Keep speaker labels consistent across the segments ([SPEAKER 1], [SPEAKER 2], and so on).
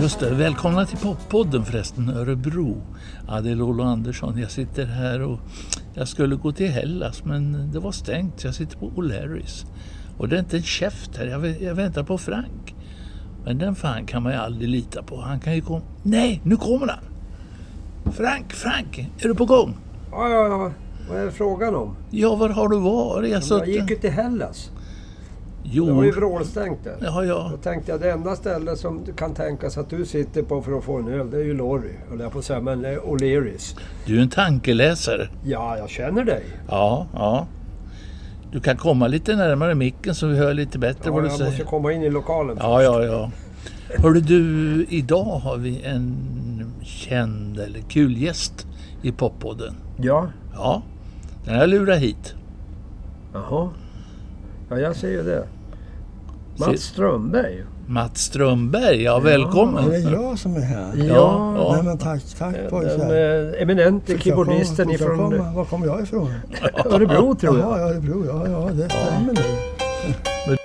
[SPEAKER 1] Just det. Välkomna till poppodden förresten, Örebro. Adelolo Andersson. Jag sitter här och jag skulle gå till Hellas men det var stängt. Jag sitter på O'Larrys. Och det är inte en käft här. Jag, vä- jag väntar på Frank. Men den fan kan man ju aldrig lita på. Han kan ju komma... Nej, nu kommer han! Frank, Frank! Är du på gång?
[SPEAKER 2] Ja, ja, ja. Vad är det frågan om?
[SPEAKER 1] Ja, var har du varit? Jag,
[SPEAKER 2] Jag
[SPEAKER 1] satt...
[SPEAKER 2] gick ju till Hellas. Det var
[SPEAKER 1] Jo,
[SPEAKER 2] ju vrålstängt där.
[SPEAKER 1] ja, ja.
[SPEAKER 2] Då tänkte jag det enda stället som du kan tänkas att du sitter på för att få en öl, det är ju Lorry. Höll jag på att säga, men det är O'Learys.
[SPEAKER 1] Du är en tankeläsare.
[SPEAKER 2] Ja, jag känner dig.
[SPEAKER 1] Ja, ja. Du kan komma lite närmare micken så vi hör lite bättre
[SPEAKER 2] Ja,
[SPEAKER 1] vad du
[SPEAKER 2] jag måste
[SPEAKER 1] säger.
[SPEAKER 2] komma in i lokalen.
[SPEAKER 1] Ja, ja, ja. Hörru du, idag har vi en känd eller kul gäst i poppodden.
[SPEAKER 2] Ja,
[SPEAKER 1] Ja, den har jag lurat hit.
[SPEAKER 2] jaha. Ja, jag ser ju det.
[SPEAKER 1] Se-
[SPEAKER 2] Mats Strömberg.
[SPEAKER 1] Mats Strömberg, ja välkommen.
[SPEAKER 3] Ja, det är jag som är här.
[SPEAKER 2] Ja.
[SPEAKER 3] Nej, men tack, tack
[SPEAKER 2] Den
[SPEAKER 3] pojkar.
[SPEAKER 2] eh, eminente keyboardisten
[SPEAKER 3] Får jag komma-
[SPEAKER 2] ifrån eh,
[SPEAKER 3] Var kommer jag ifrån?
[SPEAKER 2] Örebro tror jag.
[SPEAKER 3] Jaha, Örebro. Ja, ja, det stämmer nu.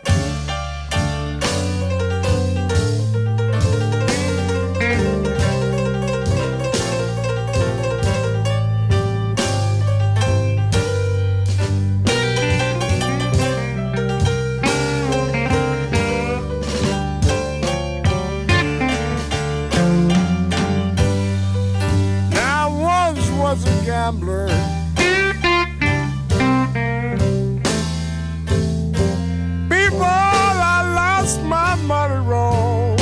[SPEAKER 4] I once was a gambler. People, I lost my money wrong.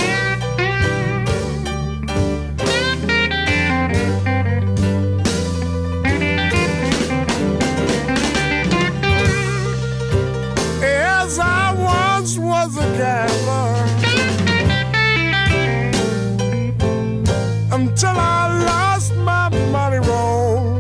[SPEAKER 4] Yes, I once was a gambler. until I lost my money roll.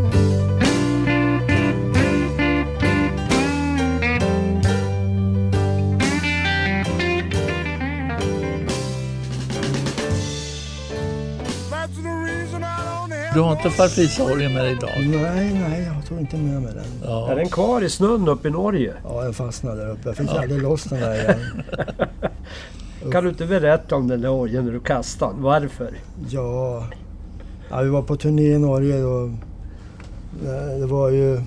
[SPEAKER 4] That's the reason I don't have
[SPEAKER 1] Du har inte
[SPEAKER 4] no
[SPEAKER 1] farfissorgen med dig idag?
[SPEAKER 3] Nej, nej, jag tog inte med mig den.
[SPEAKER 2] Är
[SPEAKER 1] Ja.
[SPEAKER 2] den kvar i snön uppe i Norge?
[SPEAKER 3] Ja, den fastnade där uppe. Jag fick aldrig loss den där igen.
[SPEAKER 2] Kan du inte berätta om den där orgeln när du kastade den? Varför?
[SPEAKER 3] Ja. ja, vi var på turné i Norge då. Det- Det var ju...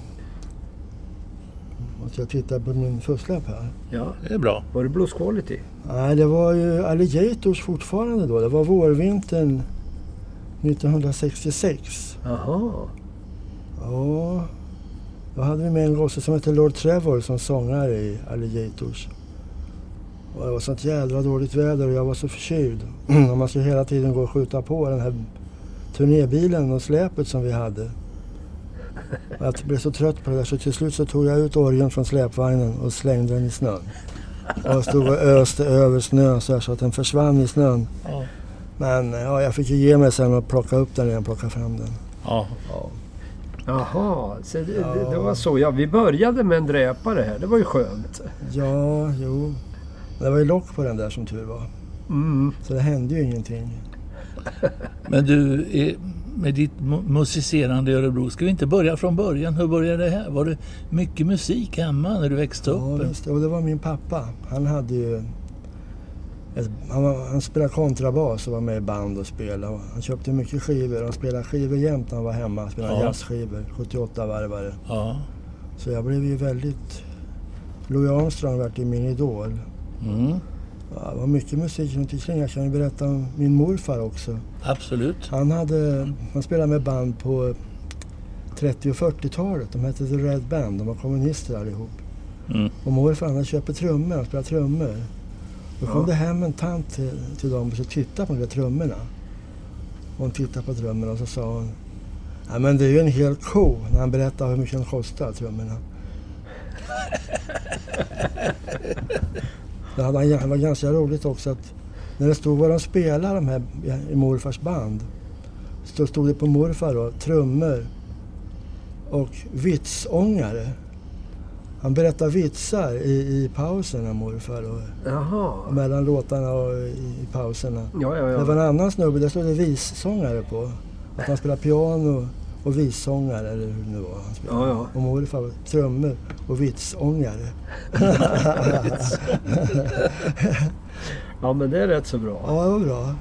[SPEAKER 3] Måste jag titta på min fusklapp här?
[SPEAKER 2] Ja.
[SPEAKER 1] Det är bra.
[SPEAKER 2] Var det Blues Quality?
[SPEAKER 3] Nej, det var ju Alligators fortfarande då. Det var vårvintern 1966.
[SPEAKER 2] Jaha.
[SPEAKER 3] Ja, då hade vi med en gosse som hette Lord Trevor som sångare i Alligators. Och det var sånt jädra dåligt väder och jag var så förkyld. och man skulle hela tiden gå och skjuta på den här turnébilen och släpet som vi hade. Och jag blev så trött på det där så till slut så tog jag ut orgeln från släpvagnen och slängde den i snön. Och jag stod och öste över snön så, här, så att den försvann i snön.
[SPEAKER 1] Ja.
[SPEAKER 3] Men ja, jag fick ju ge mig sen och plocka upp den igen och plocka fram den.
[SPEAKER 1] Ja.
[SPEAKER 2] Jaha, så det, det, det
[SPEAKER 3] Ja.
[SPEAKER 2] var så. Ja, vi började med en dräpare här. Det var ju skönt.
[SPEAKER 3] Ja, jo. Det var ju lock på den där som tur var.
[SPEAKER 2] Mm.
[SPEAKER 3] Så det hände ju ingenting.
[SPEAKER 1] Men du, eh, med ditt mu- musicerande i Örebro, ska vi inte börja från början? Hur började det här? Var det mycket musik hemma när du växte
[SPEAKER 3] Ja,
[SPEAKER 1] upp?
[SPEAKER 3] visst. Och det var min pappa. Han hade ju... Ett, han, var, han spelade kontrabas och var med i band och spelade. Och Han köpte mycket skivor. Han spelade skivor jämt när han var hemma. Han spelade
[SPEAKER 1] Ja.
[SPEAKER 3] jazzskivor, 78-varvare.
[SPEAKER 1] Ja.
[SPEAKER 3] Så jag blev ju väldigt... Louis Armstrong vart ju min idol.
[SPEAKER 1] Mm.
[SPEAKER 3] Ja, det var mycket musik runt omkring. Jag kan ju berätta om min morfar också.
[SPEAKER 1] Absolut.
[SPEAKER 3] Han, hade, han spelade med band på 30 och 40-talet. De hette The Red Band. De var kommunister allihop.
[SPEAKER 1] Mm.
[SPEAKER 3] Och morfar han köpte trummor. Han spelade trummor. Då kom det hem en tant till, till dem och så tittade på de där trummorna. Hon tittade på trummorna och så sa hon Nej men det är ju en hel ko när han berättade hur mycket de kostar trummorna. det hade, han- det var ganska roligt också att när det stod vad de spelade de här i morfars band. Så stod det på morfar då, trummor och vitsångare. Han berättade vitsar i, i pauserna morfar och
[SPEAKER 2] Jaha.
[SPEAKER 3] mellan låtarna och i, i pauserna.
[SPEAKER 2] Ja, ja,
[SPEAKER 3] Det var
[SPEAKER 2] ja.
[SPEAKER 3] en annan snubbe, där stod det vissångare på. Att han spelade piano och vissångare eller hur det nu var han spelade.
[SPEAKER 2] Ja, ja.
[SPEAKER 3] Och morfar var trummor och vitsångare.
[SPEAKER 2] ja, men det är rätt så bra.
[SPEAKER 3] Ja, det var bra.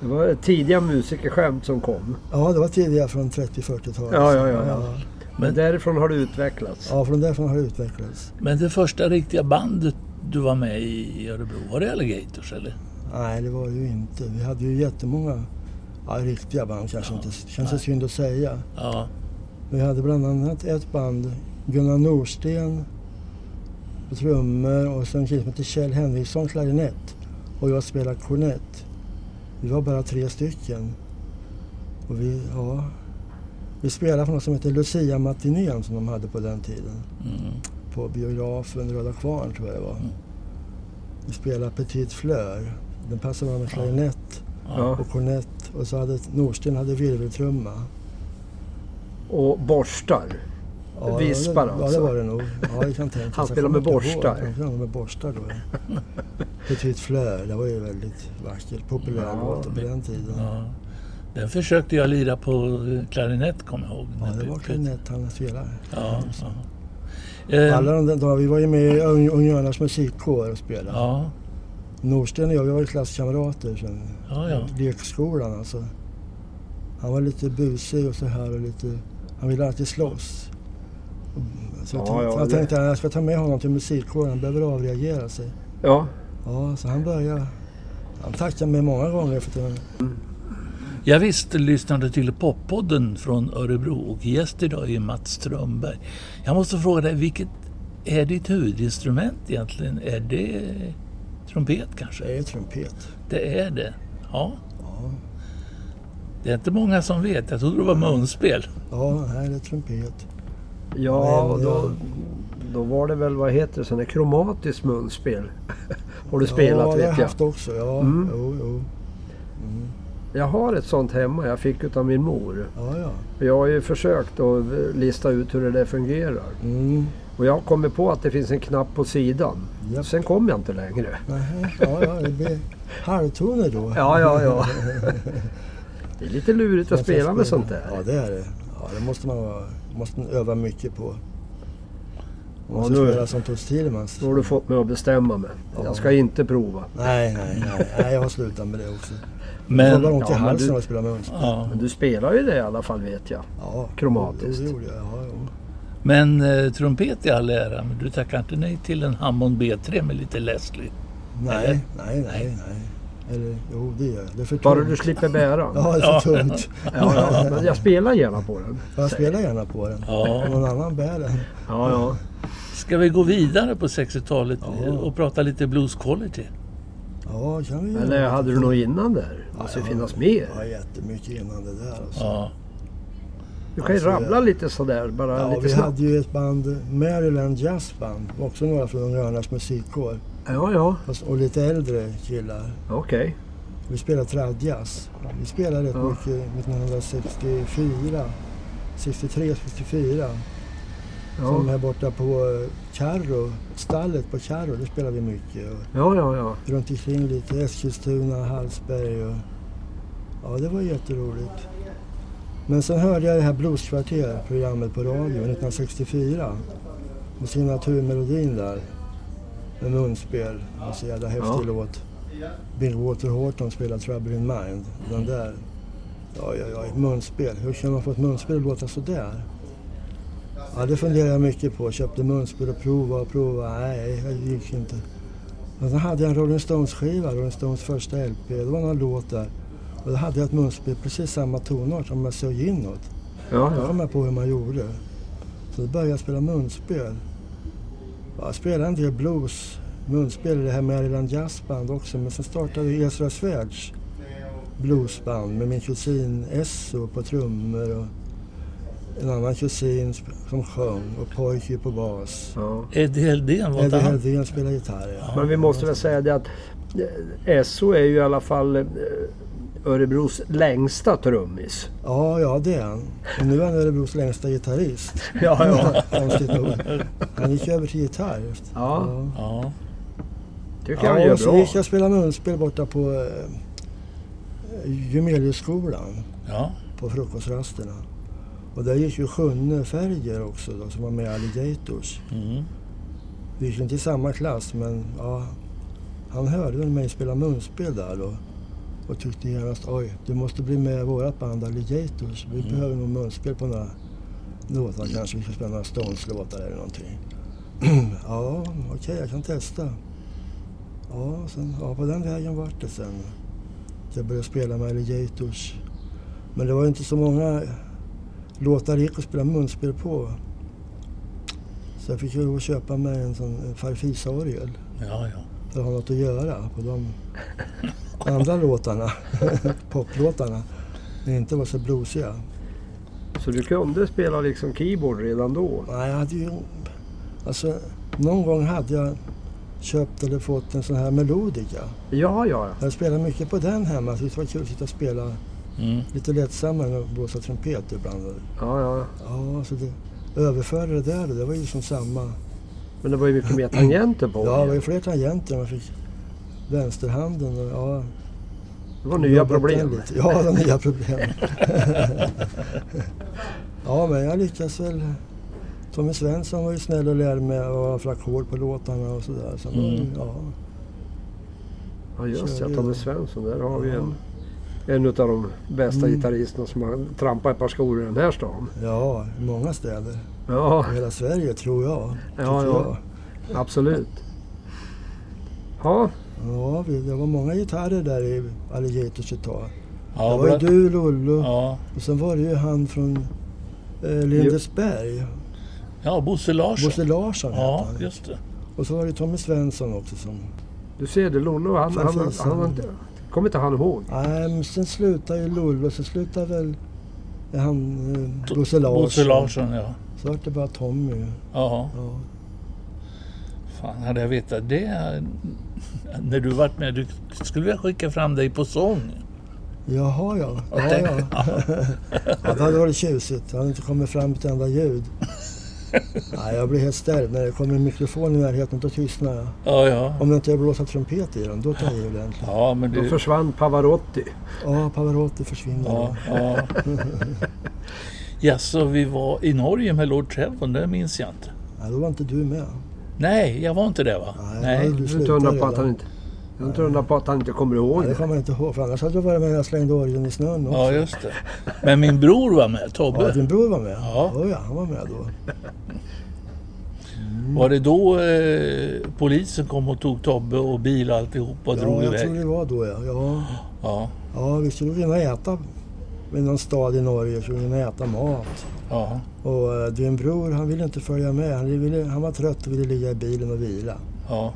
[SPEAKER 2] Det var tidiga musikerskämt som kom.
[SPEAKER 3] Ja, det var tidigare från 30-40-talet.
[SPEAKER 2] Ja, ja, ja, ja.
[SPEAKER 1] Men-
[SPEAKER 2] Men därifrån har det utvecklats.
[SPEAKER 3] Ja, från därifrån har det utvecklats.
[SPEAKER 1] Men det första riktiga bandet du var med i i Örebro, var det Alligators eller?
[SPEAKER 3] Nej, det var det ju inte. Vi hade ju jättemånga ja, riktiga band, kanske
[SPEAKER 1] Ja,
[SPEAKER 3] inte. Känns det
[SPEAKER 1] nej.
[SPEAKER 3] synd att säga.
[SPEAKER 1] Ja,
[SPEAKER 3] Vi hade bland annat ett band, Gunnar Norsten på trummor och sen en kille som hette Kjell Henriksson klarinett och jag spelade kornett. Vi var bara tre stycken. Och vi, ja, vi spelade på något som hette Lucia-matinén som de hade på den tiden.
[SPEAKER 1] mm.
[SPEAKER 3] på biografen Röda Kvarn tror jag det var.
[SPEAKER 1] Mm.
[SPEAKER 3] Vi spelade Petit Fleur. Den passade bra med klarinett
[SPEAKER 1] ja.
[SPEAKER 3] och kornett och så hade Norsten hade virveltrumma.
[SPEAKER 2] Och borstar.
[SPEAKER 3] Ja,
[SPEAKER 2] Vispar
[SPEAKER 3] det, Ja,
[SPEAKER 2] alltså.
[SPEAKER 3] det var det nog. Ja, det kan tänkas.
[SPEAKER 2] Han
[SPEAKER 3] Jag
[SPEAKER 2] spelade med
[SPEAKER 3] kommer inte
[SPEAKER 2] borstar.
[SPEAKER 3] ihåg. Han spelade med borstar då. ja. Petit Fleur, det var ju väldigt vackert. Populär
[SPEAKER 2] Ja,
[SPEAKER 3] låt på
[SPEAKER 1] men-
[SPEAKER 3] den tiden. Ja,
[SPEAKER 1] ja. Den försökte jag lira på eh, klarinett kommer jag ihåg.
[SPEAKER 3] det var klarinett han spelade.
[SPEAKER 1] Ja, ja.
[SPEAKER 2] Ehm.
[SPEAKER 1] Eh,
[SPEAKER 3] Alla de där, vi var ju med i Ung- Ungarnas musikkår och spelade.
[SPEAKER 1] ja,
[SPEAKER 3] Norsten och jag, vi var ju klasskamrater sen.
[SPEAKER 1] ja, ja.
[SPEAKER 3] lekskolan alltså. Han var lite busig och så här och lite... Han ville alltid slåss. Så jag
[SPEAKER 2] Ja,
[SPEAKER 3] tänkte,
[SPEAKER 2] ja,
[SPEAKER 3] jag
[SPEAKER 2] det-
[SPEAKER 3] tänkte att jag ska ta med honom till musikkåren, han behöver avreagera sig.
[SPEAKER 2] Ja,
[SPEAKER 3] Ja, så han började... Han tackade mig många gånger för att jag-
[SPEAKER 1] Jag visst lyssnade till poppodden från Örebro och gäst idag är Mats Strömberg. Jag måste fråga dig, vilket är ditt huvudinstrument egentligen? Är det trumpet
[SPEAKER 3] det
[SPEAKER 1] kanske?
[SPEAKER 3] är trumpet.
[SPEAKER 1] Det är det. Ja,
[SPEAKER 3] Ja,
[SPEAKER 1] det är inte många som vet. Jag trodde det var munspel.
[SPEAKER 3] ja här är det trumpet.
[SPEAKER 2] ja
[SPEAKER 3] Men
[SPEAKER 2] och då,
[SPEAKER 3] jag-
[SPEAKER 2] då var det väl, vad heter det, sån där kromatiskt munspel. Har du spelat
[SPEAKER 3] ja, det har
[SPEAKER 2] vet jag.
[SPEAKER 3] haft också. Ja,
[SPEAKER 2] Mm.
[SPEAKER 3] jo, jo.
[SPEAKER 2] Jag har ett sånt hemma jag fick utav min mor.
[SPEAKER 3] Ja, ja.
[SPEAKER 2] Jag har ju försökt att lista ut hur det där fungerar.
[SPEAKER 3] Mm.
[SPEAKER 2] Och jag har kommit på att det finns en knapp på sidan.
[SPEAKER 3] Japp.
[SPEAKER 2] Sen kom jag inte längre.
[SPEAKER 3] Nähä. Ja, ja, det blir halvtoner då.
[SPEAKER 2] Ja, ja, ja. Det är lite lurigt att
[SPEAKER 3] Man ska
[SPEAKER 2] spela med sånt där.
[SPEAKER 3] Ja, det är det. Ja, det måste man, vara- måste man öva mycket på. Man
[SPEAKER 2] Ja,
[SPEAKER 3] måste
[SPEAKER 2] nu-
[SPEAKER 3] spela som Toots Thielemans.
[SPEAKER 2] Nu har du fått mig att bestämma mig.
[SPEAKER 3] Ja.
[SPEAKER 2] Jag ska inte prova.
[SPEAKER 3] Nej, nej, nej, nej. Jag har slutat med det också. jag får bara
[SPEAKER 1] Men,
[SPEAKER 3] ont i
[SPEAKER 2] ja, men
[SPEAKER 3] halsen
[SPEAKER 2] du-
[SPEAKER 3] när jag spelar med munspel.
[SPEAKER 1] ja.
[SPEAKER 2] Men du spelar ju det i alla fall vet jag.
[SPEAKER 3] Ja,
[SPEAKER 2] Kromatiskt.
[SPEAKER 3] Jo, jo, det gjorde jag. Ja, jo.
[SPEAKER 1] men eh, trumpet i all ära, men du tackar inte nej till en Hammond B3 med lite Leslie? Eller?
[SPEAKER 3] Nej, nej, nej, nej. Eller, jo, det gör jag. Det är för tungt.
[SPEAKER 2] Bara du slipper bära den.
[SPEAKER 3] Ja, det är för tungt.
[SPEAKER 2] Ja, ja. Men jag spelar gärna på den.
[SPEAKER 3] Jag spelar gärna på den.
[SPEAKER 1] Ja.
[SPEAKER 3] Om någon annan bär den.
[SPEAKER 2] Ja, ja.
[SPEAKER 1] Ska vi gå vidare på 60-talet
[SPEAKER 3] Ja.
[SPEAKER 1] och prata lite blues quality?
[SPEAKER 3] Ja, kan vi göra.
[SPEAKER 2] Eller hade du något innan där? Det måste ju finnas mer.
[SPEAKER 3] Ja, jättemycket innan det där. Alltså.
[SPEAKER 1] Ja.
[SPEAKER 2] Du kan ju rabbla lite sådär bara
[SPEAKER 3] Ja,
[SPEAKER 2] lite
[SPEAKER 3] vi
[SPEAKER 2] snabbt.
[SPEAKER 3] hade ju ett band, Maryland Jazz Band, också några från Unga Örnars musikkår.
[SPEAKER 2] Ja, ja.
[SPEAKER 3] fast- Och lite äldre killar.
[SPEAKER 2] Okej.
[SPEAKER 3] Vi spelade tradjazz. Vi spelade rätt
[SPEAKER 2] Ja.
[SPEAKER 3] mycket 1964. 63, 64. Som
[SPEAKER 2] Ja.
[SPEAKER 3] här borta på eh, Karro, stallet på Karro, där spelade vi mycket. Och
[SPEAKER 2] ja, ja, ja.
[SPEAKER 3] runt omkring lite Eskilstuna, Hallsberg och... Ja, det var jätteroligt. Men sen hörde jag det här Blueskvarter, programmet på radio 1964. Och signaturmelodin där. Med munspel. En så jävla häftig
[SPEAKER 2] Ja.
[SPEAKER 3] låt. Bill Walter Horton spelar Trouble in Mind. Den där. Ja, ja, ja, ett munspel. Hur kan man få ett munspel att låta sådär? Ja, det funderade jag mycket på. Köpte munspel och provade och provade. Nej, det gick inte. Men sen hade jag en Rolling Stones-skiva, Rolling Stones första LP. Det var någon låt där. Och då hade jag ett munspel precis samma tonart som jag sög inåt.
[SPEAKER 2] Ja,
[SPEAKER 3] Då
[SPEAKER 2] ja.
[SPEAKER 3] kom jag på hur man gjorde. Så då började jag spela munspel. Ja, Jag spelade en del blues, munspel i det här Maryland Jazz Band också. Men sen startade Ezra Swartz bluesband med min kusin Esso på trummor och en annan kusin sp- som sjöng och pojke på bas.
[SPEAKER 2] ja.
[SPEAKER 1] Eddie Heldén, vad
[SPEAKER 3] Eddie
[SPEAKER 1] hette han?
[SPEAKER 3] Heldén spelade gitarr. ja.
[SPEAKER 2] Men vi måste väl säga det att eh, SO är ju i alla fall eh, Örebros längsta trummis.
[SPEAKER 3] Ja, ja det är han. Och nu är han Örebros längsta gitarrist.
[SPEAKER 2] Ja, ja.
[SPEAKER 3] Konstigt nog. Han gick över till gitarr. efter-
[SPEAKER 2] Ja,
[SPEAKER 1] Ja.
[SPEAKER 2] tycker jag han
[SPEAKER 3] Ja, och
[SPEAKER 2] gör
[SPEAKER 3] så
[SPEAKER 2] bra.
[SPEAKER 3] gick jag och spelade munspel borta på eh, Jumeliusskolan
[SPEAKER 1] Ja,
[SPEAKER 3] på frukostrasterna. Och där gick ju Sjunne Färger också då, som var med i Alligators.
[SPEAKER 1] mm.
[SPEAKER 3] Vi gick inte i samma klass men ja, han hörde väl mig spela munspel där då. och tyckte genast oj, du måste bli med i vårt band Alligators. Vi
[SPEAKER 1] Mm.
[SPEAKER 3] behöver nog munspel på några låtar kanske. Vi ska spela några Stones-låtar eller någonting. ja, okej, jag kan testa. Ja, sen, ja, på den vägen vart det sen. Jag började spela med Alligators. Men det var inte så många låtar det gick att spela munspel på. Så jag fick ju lov att köpa mig en sån en farfisa-orgel
[SPEAKER 1] Ja, ja.
[SPEAKER 3] för att ha något att göra på de andra låtarna, poplåtarna, när det inte var så bluesiga.
[SPEAKER 5] Så du kunde spela liksom keyboard redan då?
[SPEAKER 3] Nej, jag hade ju... Alltså, någon gång hade jag köpt eller fått en sån här melodica.
[SPEAKER 5] Ja, ja. ja.
[SPEAKER 3] Jag spelade mycket på den hemma, så det var kul att sitta och spela
[SPEAKER 1] Mm.
[SPEAKER 3] lite lättsammare än att blåsa trumpet ibland.
[SPEAKER 5] ja, ja.
[SPEAKER 3] Ja, så det överförde det där, det var ju som samma.
[SPEAKER 5] Men det var ju mycket mer tangenter på.
[SPEAKER 3] Ja, det var ju
[SPEAKER 5] det
[SPEAKER 3] fler tangenter, man fick vänsterhanden och ja,
[SPEAKER 5] var nya
[SPEAKER 3] Jobbat
[SPEAKER 5] problem.
[SPEAKER 3] den lite. Ja, det var nya problem. ja, men jag lyckas väl. Tommy Svensson var ju snäll och lärde mig att ha ackord på låtarna och sådär. Så mm.
[SPEAKER 1] Mm.
[SPEAKER 3] ja,
[SPEAKER 5] Ja just
[SPEAKER 3] Kör
[SPEAKER 5] det,
[SPEAKER 3] vi.
[SPEAKER 5] Tommy Svensson. Där har vi
[SPEAKER 3] Ja.
[SPEAKER 5] en, en av de bästa
[SPEAKER 3] Mm.
[SPEAKER 5] gitarristerna som har trampat ett par skor i den här stan.
[SPEAKER 3] ja, i många städer.
[SPEAKER 5] Ja,
[SPEAKER 3] I hela Sverige tror jag.
[SPEAKER 5] ja,
[SPEAKER 3] tycker
[SPEAKER 5] ja absolut. Ja,
[SPEAKER 3] jag. ja vi, det var många gitarrer där i Alligators ett tag.
[SPEAKER 1] Ja,
[SPEAKER 3] det var ju
[SPEAKER 1] bra.
[SPEAKER 3] du, Lollo
[SPEAKER 1] Ja,
[SPEAKER 3] och sen var det ju han från eh, Lindesberg.
[SPEAKER 1] ja Bosse Larsson.
[SPEAKER 3] Bosse Larsson hette
[SPEAKER 1] ja,
[SPEAKER 3] han.
[SPEAKER 1] just det.
[SPEAKER 3] Och så var det Tommy Svensson också som
[SPEAKER 5] du ser det. Lollo, han, han, han,
[SPEAKER 3] Precis,
[SPEAKER 5] han,
[SPEAKER 3] han-
[SPEAKER 5] inte- kommer inte han ihåg.
[SPEAKER 3] Nej, men sen slutar ju Lollo, sen slutar väl han eh, Bosse Larsson.
[SPEAKER 1] Bosse Larsson, ja.
[SPEAKER 3] Så vart det bara Tommy.
[SPEAKER 1] ja.
[SPEAKER 3] Ja.
[SPEAKER 1] Fan, hade jag vetat det eh, när du varit med, du skulle jag skicka fram dig på sång.
[SPEAKER 3] Jaha ja.
[SPEAKER 1] Jag
[SPEAKER 3] Ja, ja.
[SPEAKER 1] tänkte-
[SPEAKER 3] ja. Det hade varit tjusigt. Jag hade inte kommit fram ett enda ljud. Nej, jag blir helt ställd. När det kommer en mikrofon i närheten, då tystnar jag.
[SPEAKER 1] Ja, ja.
[SPEAKER 3] Om jag inte jag blåser trumpet i den, då tar jag i ordentligt.
[SPEAKER 1] Ja, men
[SPEAKER 5] Då
[SPEAKER 1] du...
[SPEAKER 5] försvann Pavarotti.
[SPEAKER 3] Ja, Pavarotti försvinner.
[SPEAKER 1] Ja,
[SPEAKER 3] Ja.
[SPEAKER 1] ja. Jaså, vi var i Norge med Lord Trevor, det minns jag inte.
[SPEAKER 3] Nej, då var inte du med.
[SPEAKER 1] Nej, jag var inte det va?
[SPEAKER 3] Nej,
[SPEAKER 1] Nej.
[SPEAKER 5] Jag
[SPEAKER 3] Du
[SPEAKER 5] är inte
[SPEAKER 3] slutar
[SPEAKER 5] hundra på att
[SPEAKER 3] redan.
[SPEAKER 5] han inte, jag är inte hundra på att han inte kommer ihåg
[SPEAKER 3] Nej, det
[SPEAKER 5] det.
[SPEAKER 3] kommer jag inte ihåg, för annars hade jag varit med när jag slängde orgeln i snön också.
[SPEAKER 1] Ja, just det. Men min bror var med,
[SPEAKER 3] Ja,
[SPEAKER 1] Tobbe.
[SPEAKER 3] din bror var med?
[SPEAKER 1] Ja.
[SPEAKER 3] Oh, ja, han var med då.
[SPEAKER 1] Var det då eh, polisen kom och tog Tobbe och bil och alltihop och drog
[SPEAKER 3] Ja, jag
[SPEAKER 1] iväg?
[SPEAKER 3] tror det var då ja. Ja,
[SPEAKER 1] Ja,
[SPEAKER 3] ja vi skulle hinna äta i någon stad i Norge, skulle hinna äta mat.
[SPEAKER 1] ja,
[SPEAKER 3] Och eh, din bror han ville inte följa med. Han, ville, han var trött och ville ligga i bilen och vila.
[SPEAKER 1] ja.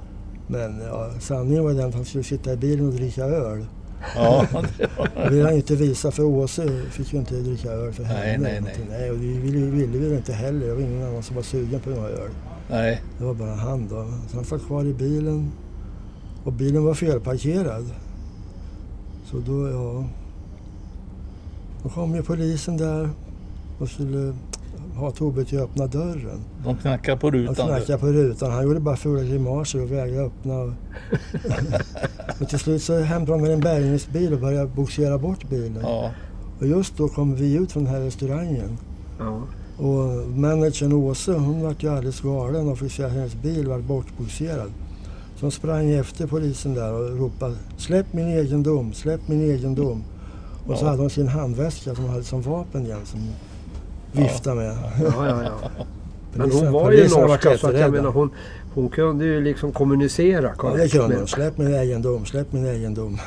[SPEAKER 3] Men ja, sanningen var den att han skulle sitta i bilen och dricka öl.
[SPEAKER 1] ja. det var-
[SPEAKER 3] Det ville han ju inte visa för Åse fick ju inte dricka öl för henne.
[SPEAKER 1] Nej,
[SPEAKER 3] eller
[SPEAKER 1] nej,
[SPEAKER 3] någonting. nej. och vi ville, ville vi det inte heller. Det var ingen annan som var sugen på någon öl.
[SPEAKER 1] Nej,
[SPEAKER 3] Det var bara han då. Så han satt kvar i bilen. Och bilen var felparkerad. Så då, ja... Då kom ju polisen där och skulle ha Tobbe till att öppna dörren.
[SPEAKER 1] de knackade på
[SPEAKER 3] Han
[SPEAKER 1] rutan.
[SPEAKER 3] knackade på rutan. Han gjorde bara fula grimaser och vägrade öppna. Och, och till slut så hämtade de med en bärgningsbil och började bogsera bort bilen.
[SPEAKER 1] Ja,
[SPEAKER 3] Och just då kom vi ut från den här restaurangen.
[SPEAKER 5] Ja.
[SPEAKER 3] Och managern Åse hon vart ju alldeles galen och fick se att hennes bil vart bortbogserad. Så hon sprang efter polisen där och ropade släpp min egendom, släpp min egendom. Och så
[SPEAKER 1] Ja.
[SPEAKER 3] hade hon sin handväska som hon hade som vapen igen som hon viftade med.
[SPEAKER 5] Ja, ja, ja. Men
[SPEAKER 3] Polisen-
[SPEAKER 5] hon var ju
[SPEAKER 3] polisen vart
[SPEAKER 5] norska så att jag
[SPEAKER 3] jätterädda.
[SPEAKER 5] menar hon, hon kunde ju liksom kommunicera
[SPEAKER 3] Ja, det
[SPEAKER 5] korrekt.
[SPEAKER 3] kunde hon.
[SPEAKER 5] med-
[SPEAKER 3] Släpp min egendom, släpp min egendom.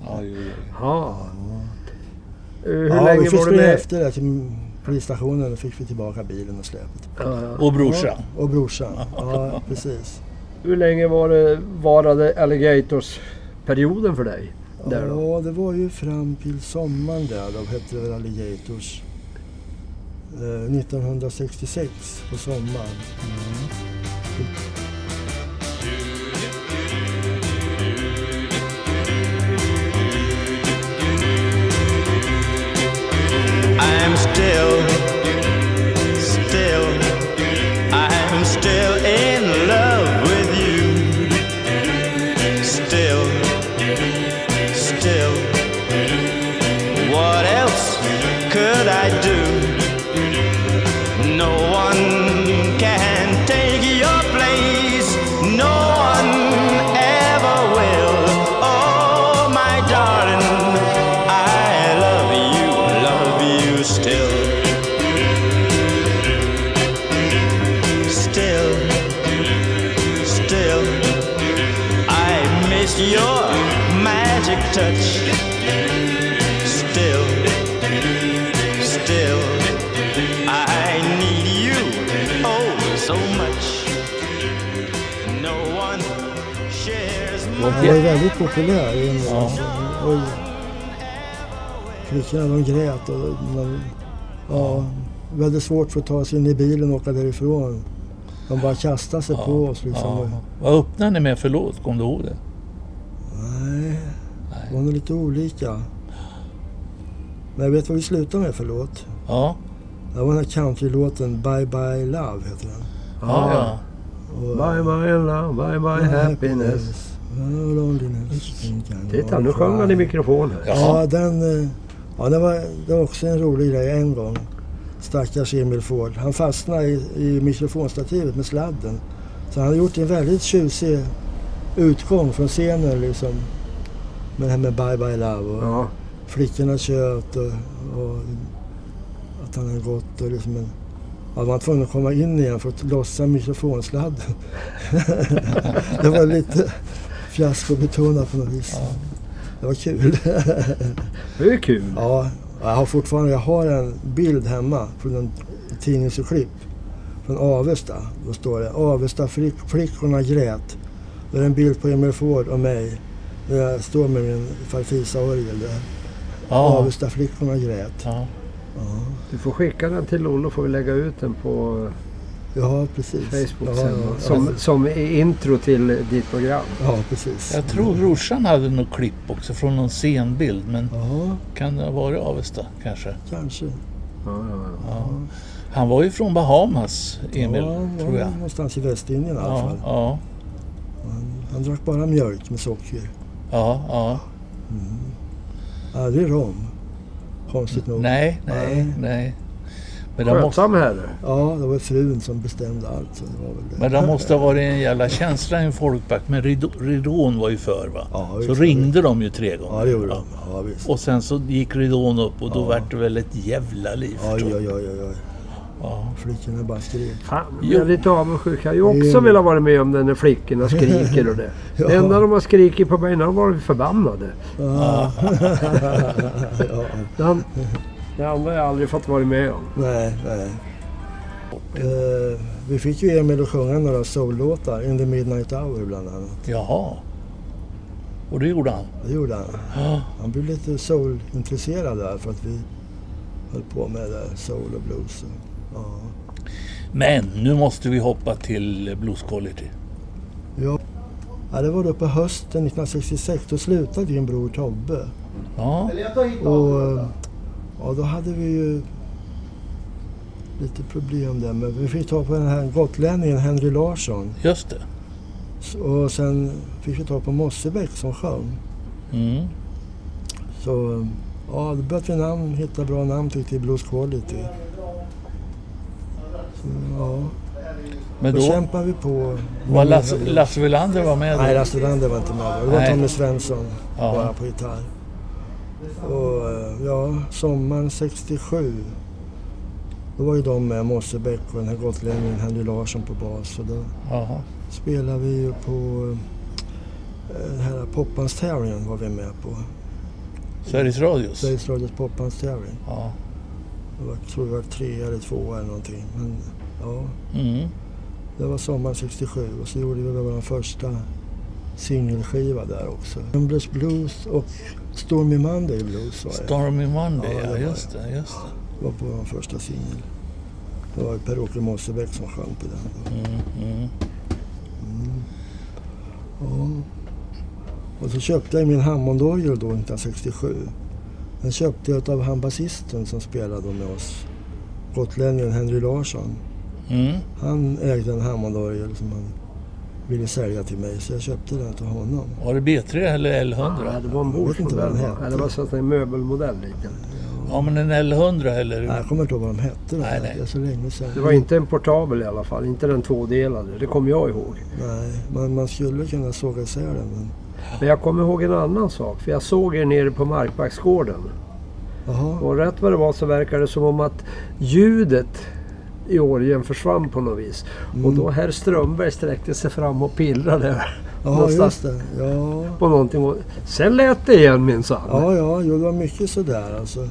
[SPEAKER 1] ja, jo, jo.
[SPEAKER 5] Ja. Eh, Hur
[SPEAKER 3] ja, vi
[SPEAKER 5] länge
[SPEAKER 3] fick
[SPEAKER 5] var du
[SPEAKER 3] springa
[SPEAKER 5] med?
[SPEAKER 3] efter det till polisstationen och fick vi tillbaka bilen och släpet.
[SPEAKER 5] Ja, ja.
[SPEAKER 1] Och brorsan.
[SPEAKER 3] Ja, och brorsan. Ja, precis.
[SPEAKER 5] Hur länge var det, varade Alligators-perioden för dig? Där då?
[SPEAKER 3] Ja, det var ju fram till sommaren där. Då hette det väl Alligators. Eh, 1966 på sommaren.
[SPEAKER 6] I'm still, still, I'm still in love with you. Still, still, what else could I do? No one can take your place, no one ever will. Oh, my Still, still, I need you oh so much. No one shares my.
[SPEAKER 3] Han var ju väldigt populär i England. Oj. Flickorna de grät och de, ja, väldigt svårt för att ta sig in i bilen och åka därifrån. De bara kastade sig på oss liksom.
[SPEAKER 1] Ja. Vad öppnade ni med för låt? Kom du ihåg det?
[SPEAKER 3] Nej, det var nog lite olika. Men jag vet vad vi slutade med för låt.
[SPEAKER 1] Ja.
[SPEAKER 3] Det var den här countrylåten Bye Bye Love heter den.
[SPEAKER 1] Ja, ja.
[SPEAKER 3] Och,
[SPEAKER 5] Bye bye love, bye bye
[SPEAKER 3] Mm.
[SPEAKER 5] happiness.
[SPEAKER 3] Oh, loneliness. think I'm
[SPEAKER 5] Titta, nu
[SPEAKER 3] all
[SPEAKER 5] sjöng han i
[SPEAKER 3] right.
[SPEAKER 5] mikrofonen.
[SPEAKER 1] Ja.
[SPEAKER 3] Ja, den, eh, ja det, var, det var också en rolig grej en gång. Stackars Emil Ford. Han fastnade i, i mikrofonstativet med sladden. Så han hade gjort en väldigt tjusig utgång från scenen liksom. Med det här med Bye Bye Love och
[SPEAKER 5] Ja.
[SPEAKER 3] flickorna tjöt och, och att han hade gått och liksom en, ja, man var tvungen att komma in igen för att lossa mikrofonsladden. det var lite fiaskobetonat på något vis. Det var kul.
[SPEAKER 5] Det är kul.
[SPEAKER 3] Ja, jag har fortfarande jag har en bild hemma från en tidningsurklipp från Avesta. Då står det Avesta flick- flickorna grät. Det är en bild på Emil Ford och mig. Där jag står med min Farfisa-orgel där.
[SPEAKER 1] ja.
[SPEAKER 3] Avesta flickorna grät.
[SPEAKER 1] ja.
[SPEAKER 5] Du får skicka den till Olle får vi lägga ut den på
[SPEAKER 3] Ja, precis.
[SPEAKER 5] Facebook
[SPEAKER 3] ja,
[SPEAKER 5] sen.
[SPEAKER 3] ja,
[SPEAKER 5] Som, som intro till ditt program.
[SPEAKER 3] ja, precis.
[SPEAKER 1] Jag tror brorsan hade något klipp också från någon scenbild. Men
[SPEAKER 3] Ja,
[SPEAKER 1] kan det ha varit Avesta kanske?
[SPEAKER 3] kanske.
[SPEAKER 5] Ja, ja, ja.
[SPEAKER 1] Han var ju från Bahamas, Emil,
[SPEAKER 3] ja, ja,
[SPEAKER 1] tror jag.
[SPEAKER 3] Någonstans i Västindien i alla
[SPEAKER 1] Ja,
[SPEAKER 3] fall.
[SPEAKER 1] ja,
[SPEAKER 3] Han drack bara mjölk med socker.
[SPEAKER 1] ja, ja.
[SPEAKER 3] Aldrig rom. Konstigt nog.
[SPEAKER 1] Nej, nej,
[SPEAKER 3] Nej.
[SPEAKER 1] nej. Men det måste,
[SPEAKER 5] Skötsam herre.
[SPEAKER 3] Ja, det var frun som bestämde allt. Så det var väl det.
[SPEAKER 1] men det måste ha varit en jävla känsla i en folkpark. Men ridå- ridån var ju för va?
[SPEAKER 3] Ja,
[SPEAKER 1] så
[SPEAKER 3] visst.
[SPEAKER 1] ringde de ju tre gånger.
[SPEAKER 3] Ja, det gjorde de. Ja, visst.
[SPEAKER 1] Och sen så gick ridån upp och då vart det väl ett jävla liv.
[SPEAKER 3] Oj,
[SPEAKER 1] förstår
[SPEAKER 3] oj,
[SPEAKER 1] du?
[SPEAKER 3] oj, oj, oj.
[SPEAKER 1] Ja.
[SPEAKER 3] Flickorna bara skrek.
[SPEAKER 5] Fan, nu
[SPEAKER 1] Jo.
[SPEAKER 5] blir jag lite avundsjuk. Jag hade ju också
[SPEAKER 3] Jo.
[SPEAKER 5] velat vara med om den när flickorna skriker och det.
[SPEAKER 3] Ja.
[SPEAKER 5] Det enda de har skrikit på mig, när de har varit förbannade.
[SPEAKER 3] Ah. ja.
[SPEAKER 5] Det an- det andra har jag aldrig fått vara med om.
[SPEAKER 3] Nej, nej. Eh, vi fick ju Emil att sjunga några soul-låtar. In the Midnight Hour bland annat.
[SPEAKER 1] Jaha. Och det gjorde han.
[SPEAKER 3] Det gjorde han.
[SPEAKER 1] Ja.
[SPEAKER 3] Han blev lite soul-intresserad där för att vi höll på med det där, soul och blues. Och, ja.
[SPEAKER 1] Men nu måste vi hoppa till Blues Quality.
[SPEAKER 3] Ja, det var då på hösten 1966. Då slutade din bror Tobbe.
[SPEAKER 1] Ja,
[SPEAKER 3] Och eh, ja, då hade vi ju lite problem där. Men vi fick ta på den här gotlänningen Henry Larsson.
[SPEAKER 1] just det.
[SPEAKER 3] S- Och sen fick vi ta på Mossebäck som sjöng.
[SPEAKER 1] Mm.
[SPEAKER 3] Så eh, ja, då började vi namn, hitta bra namn tyckte vi, Blues Quality. Så, ja,
[SPEAKER 1] Men
[SPEAKER 3] då,
[SPEAKER 1] då
[SPEAKER 3] kämpade vi på.
[SPEAKER 1] var Lasse, Lasse Welander var med
[SPEAKER 3] Nej,
[SPEAKER 1] då?
[SPEAKER 3] Lasse Lander var inte med. då. Det var
[SPEAKER 1] Nej.
[SPEAKER 3] Tommy Svensson
[SPEAKER 1] Ja.
[SPEAKER 3] bara på gitarr. Och eh, ja, sommaren 67 då var ju de med Mossebäck och den här gotlänningen Henry Larsson på bas. Och då
[SPEAKER 1] Jaha.
[SPEAKER 3] spelade vi ju på eh, den här Poppans Tävlingen var vi med på.
[SPEAKER 1] Sveriges Radios?
[SPEAKER 3] Sveriges Radios Poppans Tävling.
[SPEAKER 1] Ja.
[SPEAKER 3] Det var, tror jag var tre eller två eller någonting. Men ja,
[SPEAKER 1] Mm.
[SPEAKER 3] det var sommaren 67 och så gjorde vi väl vår första singelskiva där också. Rumblers Blues och Stormy Monday Blues var det.
[SPEAKER 1] Stormy Monday,
[SPEAKER 3] Ja, det
[SPEAKER 1] ja,
[SPEAKER 3] var
[SPEAKER 1] just det. Just
[SPEAKER 3] Det var på vår första singel. Det var ju Per-Åke Mossebäck som sjöng på den. Då.
[SPEAKER 1] det. Mm, mm.
[SPEAKER 3] Ja. Och så köpte jag min Hammondorgel då 1967. Den köpte jag av han basisten som spelade med oss. Gotlänningen Henry Larsson.
[SPEAKER 1] Mm.
[SPEAKER 3] Han ägde en Hammondorgel som han ville sälja till mig så jag köpte den till honom.
[SPEAKER 1] Var det B3 eller
[SPEAKER 5] Ja,
[SPEAKER 1] L100?
[SPEAKER 5] det var en
[SPEAKER 3] Jag vet inte vad
[SPEAKER 5] bordsmodell.
[SPEAKER 3] den
[SPEAKER 5] va?
[SPEAKER 3] hette.
[SPEAKER 5] Ja, Det var så att det är en möbelmodell. lite.
[SPEAKER 1] Ja, men en L100
[SPEAKER 3] Nej,
[SPEAKER 1] eller?
[SPEAKER 3] jag kommer inte ihåg vad de hette. de
[SPEAKER 1] Nej,
[SPEAKER 3] här.
[SPEAKER 1] nej.
[SPEAKER 3] Det är så länge sedan.
[SPEAKER 5] Det var inte en portabel i alla fall. Inte den tvådelade. Det kommer jag ihåg.
[SPEAKER 3] Nej, man, man skulle kunna såga isär den. Men...
[SPEAKER 5] Men jag kommer ihåg en annan sak. För jag såg er nere på Markbacksgården.
[SPEAKER 3] Jaha,
[SPEAKER 5] Och rätt vad det var så verkade det som om att ljudet
[SPEAKER 2] Georgien försvann på något vis. Och
[SPEAKER 3] Mm.
[SPEAKER 2] då herr Strömberg sträckte sig fram och pillrade
[SPEAKER 3] Ja,
[SPEAKER 2] någonstans
[SPEAKER 3] just det. Ja.
[SPEAKER 2] på någonting. Och sen lät det igen minsann.
[SPEAKER 3] Ja, ja, jo, det var mycket sådär alltså. Jag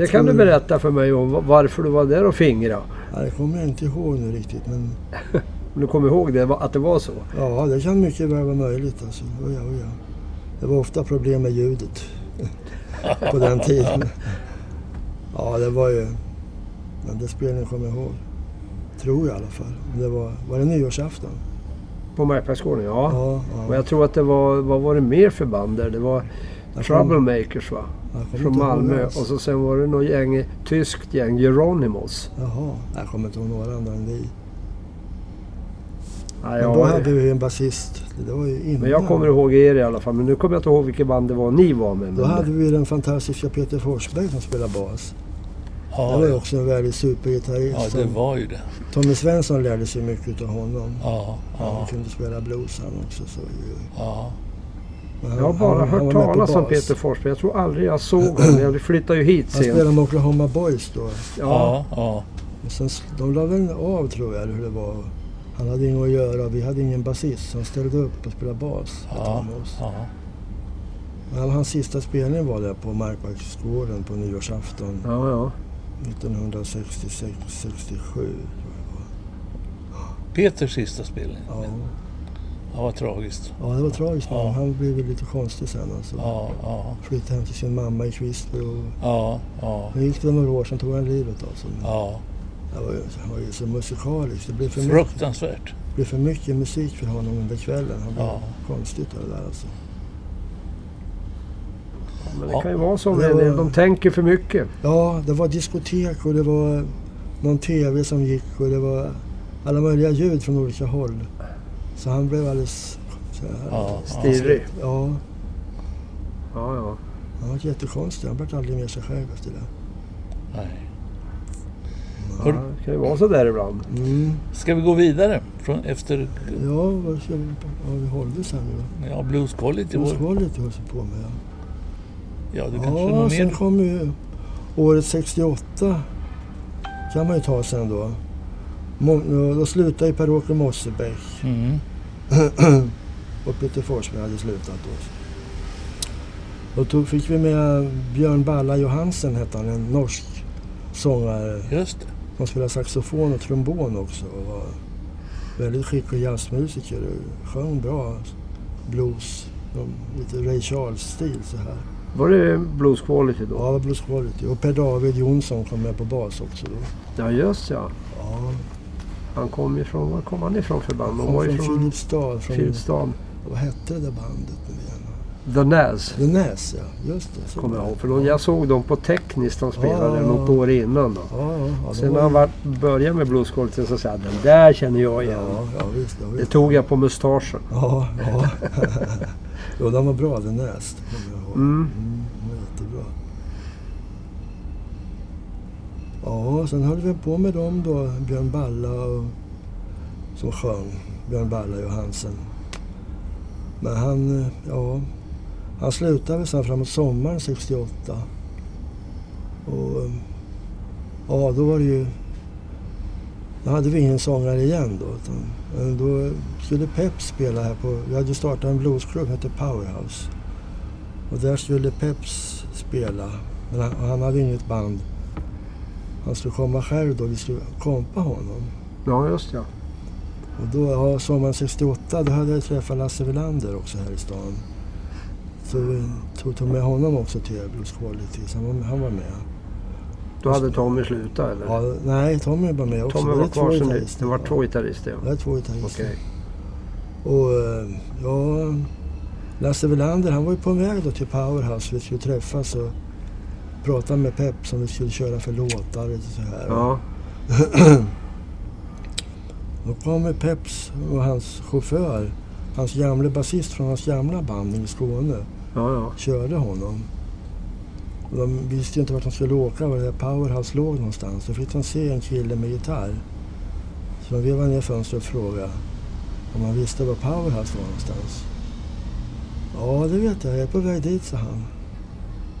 [SPEAKER 2] det kan du
[SPEAKER 3] tror-
[SPEAKER 2] berätta för mig om va- varför du var där och fingrade.
[SPEAKER 3] Ja, det kommer jag inte ihåg nu riktigt, men
[SPEAKER 2] Om du kommer ihåg det, va- att det var så.
[SPEAKER 3] ja, det kan mycket väl vara möjligt alltså. Oj, oj, oj. Det var ofta problem med ljudet på den tiden. Ja, det var ju... Men det spelningen kommer jag ihåg. Tror jag i alla fall. Det var, var det nyårsafton?
[SPEAKER 2] På Markparksgården, ja.
[SPEAKER 3] Ja,
[SPEAKER 2] Och
[SPEAKER 3] ja.
[SPEAKER 2] jag tror att det var, vad var det mer för band där? Det var
[SPEAKER 3] Jag kommer-
[SPEAKER 2] Troublemakers va?
[SPEAKER 3] jag alltså. kommer
[SPEAKER 2] Från
[SPEAKER 3] inte ihåg
[SPEAKER 2] Malmö. Och
[SPEAKER 3] alls.
[SPEAKER 2] så sen var det något gäng, tyskt gäng, Geronimos.
[SPEAKER 3] Jaha, jag kommer inte ihåg några andra än vi.
[SPEAKER 2] Nej,
[SPEAKER 3] Men
[SPEAKER 2] jag,
[SPEAKER 3] då hade vi ju en basist. Det var ju innan.
[SPEAKER 2] men jag kommer ihåg er i alla fall. Men nu kommer jag inte ihåg vilket band det var ni var med.
[SPEAKER 3] Då
[SPEAKER 2] Men,
[SPEAKER 3] hade vi den fantastiska Peter Forsberg som spelade bas. Det
[SPEAKER 1] Ja,
[SPEAKER 3] var ju också en väldigt supergitarrist.
[SPEAKER 1] ja, det
[SPEAKER 3] som-
[SPEAKER 1] var ju det.
[SPEAKER 3] Tommy Svensson lärde sig mycket av honom.
[SPEAKER 1] Ja,
[SPEAKER 3] Han
[SPEAKER 1] ja,
[SPEAKER 3] kunde spela blues han också. Så, ju-
[SPEAKER 1] ja.
[SPEAKER 3] men han,
[SPEAKER 2] jag har bara
[SPEAKER 3] han- han
[SPEAKER 2] hört
[SPEAKER 3] var med på
[SPEAKER 2] talas om
[SPEAKER 3] bas.
[SPEAKER 2] Peter Forsberg. Jag tror aldrig jag såg honom. Jag flyttade ju hit
[SPEAKER 3] Han
[SPEAKER 2] sen.
[SPEAKER 3] spelade med Oklahoma Boys då.
[SPEAKER 2] Ja,
[SPEAKER 1] ja, ja.
[SPEAKER 3] Och sen, s- de la väl av tror jag, eller hur det var. Han hade inget att göra och vi hade ingen basist. så Han ställde upp och spelade bas. ett
[SPEAKER 1] ja,
[SPEAKER 3] tag med oss.
[SPEAKER 1] ja.
[SPEAKER 3] Men hans sista spelning var där på Markbacksgården på nyårsafton
[SPEAKER 2] ja, ja.
[SPEAKER 3] 1966, 67.
[SPEAKER 1] Peters sista spelning.
[SPEAKER 3] Ja.
[SPEAKER 1] Ja, vad tragiskt.
[SPEAKER 3] ja, det var tragiskt. men
[SPEAKER 1] Ja.
[SPEAKER 3] Han blev väl lite konstig sen alltså.
[SPEAKER 1] Ja, ja,
[SPEAKER 3] Flyttade hem till sin mamma i Kvistby och
[SPEAKER 1] ja, ja.
[SPEAKER 3] Nu gick det några år, sen tog han livet av sig. Men
[SPEAKER 1] ja.
[SPEAKER 3] Han var, ju- han var ju så musikalisk. Det blev för, mycket,
[SPEAKER 1] Fruktansvärt.
[SPEAKER 3] det blev för mycket musik för honom under kvällen. Han blev
[SPEAKER 1] Ja.
[SPEAKER 3] konstigt av det där alltså.
[SPEAKER 2] Men
[SPEAKER 1] Ja.
[SPEAKER 2] det kan ju vara så
[SPEAKER 3] Det
[SPEAKER 2] med
[SPEAKER 3] var-
[SPEAKER 2] en del. De tänker för mycket.
[SPEAKER 3] Ja, det var diskotek och det var någon TV som gick och det var alla möjliga ljud från olika håll. Så han blev alldeles... Så här,
[SPEAKER 1] Ja, ja.
[SPEAKER 2] Stirrig.
[SPEAKER 3] ja,
[SPEAKER 2] Ja, ja.
[SPEAKER 3] han var jättekonstig. Han blev aldrig mer sig själv efter det.
[SPEAKER 1] Nej.
[SPEAKER 2] ja. Det kan ju vara så där ibland.
[SPEAKER 3] Mm.
[SPEAKER 1] Ska vi gå vidare? Från, efter
[SPEAKER 3] Ja, vad ska vi, vad vi hållde sen nu då?
[SPEAKER 1] ja, Blues College i år?
[SPEAKER 3] Osvaldet höll sig på med. Ja.
[SPEAKER 1] Ja, det kanske är
[SPEAKER 3] Ja,
[SPEAKER 1] någon
[SPEAKER 3] sen
[SPEAKER 1] mer?
[SPEAKER 3] kom ju året 68. kan man ju ta sen då. Må- Då slutade ju Per-Åke Mosebäck
[SPEAKER 1] Mm.
[SPEAKER 3] och Peter Forsberg hade slutat då. Då tog, fick vi med Björn Balla Johansen, hette han, en norsk sångare
[SPEAKER 1] Just det.
[SPEAKER 3] som spelade saxofon och trombon också. Och var väldigt skicklig jazzmusiker och sjöng bra blues, lite Ray Charles-stil så här.
[SPEAKER 2] Var det Blues Quality då?
[SPEAKER 3] Ja, Blues Quality. Och Per-David Jonsson kom med på bas också då.
[SPEAKER 2] Ja, just ja.
[SPEAKER 3] Ja,
[SPEAKER 2] Han kom ifrån, var kom han ifrån för band? Han
[SPEAKER 3] kom
[SPEAKER 2] var
[SPEAKER 3] från
[SPEAKER 2] ifrån
[SPEAKER 3] Filipstad. Från,
[SPEAKER 2] Filipstad.
[SPEAKER 3] Vad hette det där bandet nu igen?
[SPEAKER 2] The Naz.
[SPEAKER 3] The Nas, ja. Just det. så
[SPEAKER 2] Kommer
[SPEAKER 3] var
[SPEAKER 2] jag
[SPEAKER 3] det.
[SPEAKER 2] ihåg. För de, jag såg dem på Tekniskt, de spelade
[SPEAKER 3] Ja.
[SPEAKER 2] något år innan då.
[SPEAKER 3] Ja, ja. ja
[SPEAKER 2] Sen
[SPEAKER 3] de
[SPEAKER 2] när
[SPEAKER 3] var-
[SPEAKER 2] han var, började med bluesquality så sa jag den där känner jag igen.
[SPEAKER 3] Ja, ja visst. Ja,
[SPEAKER 2] Det
[SPEAKER 3] visst.
[SPEAKER 2] tog jag på mustaschen.
[SPEAKER 3] ja. ja. jo, de var bra, The Nas. det kommer jag ihåg.
[SPEAKER 2] Mm.
[SPEAKER 3] Mm, de var jättebra. Ja, sen höll vi på med dem då. Björn Balla och, som sjöng. Björn Balla Johansen. Men han, eh, ja, han slutade väl sen framåt sommaren 68. Och eh, ja, då var det ju... Då hade vi ingen sångare igen då. Utan, men då skulle Pep spela här på... Vi hade ju startat en bluesklubb, hette Powerhouse. Och där skulle Peps spela. Men han, han hade inget band. Han skulle komma själv då. Vi skulle kompa honom.
[SPEAKER 2] Ja, just ja.
[SPEAKER 3] Och då, ja, sommaren 68, då hade jag träffat Lasse Welander också här i stan. Så vi tog, tog med honom också till Blues Quality. Så han var, han var med.
[SPEAKER 2] Då hade Tommy slutat eller?
[SPEAKER 3] Ja, nej, Tommy var med också.
[SPEAKER 2] Tommy
[SPEAKER 3] Det
[SPEAKER 2] var
[SPEAKER 3] två
[SPEAKER 2] kvar sen det,
[SPEAKER 3] gitarrister.
[SPEAKER 2] det var två gitarrister.
[SPEAKER 3] Det
[SPEAKER 2] Ja.
[SPEAKER 3] var två gitarrister.
[SPEAKER 2] Okej.
[SPEAKER 3] Och eh, ja, Lasse Welander han var ju på väg då till Powerhouse. Vi skulle träffas och prata med Pep som vi skulle köra för låtar och så här.
[SPEAKER 2] Ja.
[SPEAKER 3] Då kommer Peps och hans chaufför, hans gamle basist från hans gamla band i Skåne,
[SPEAKER 2] Ja, ja.
[SPEAKER 3] körde honom. Och de visste ju inte vart de skulle åka, var det där Powerhouse låg någonstans. Då fick de se en kille med gitarr. Så de vevade ner fönstret och frågade om han visste var Powerhouse var någonstans. Ja, det vet jag. Jag är på väg dit, sa han.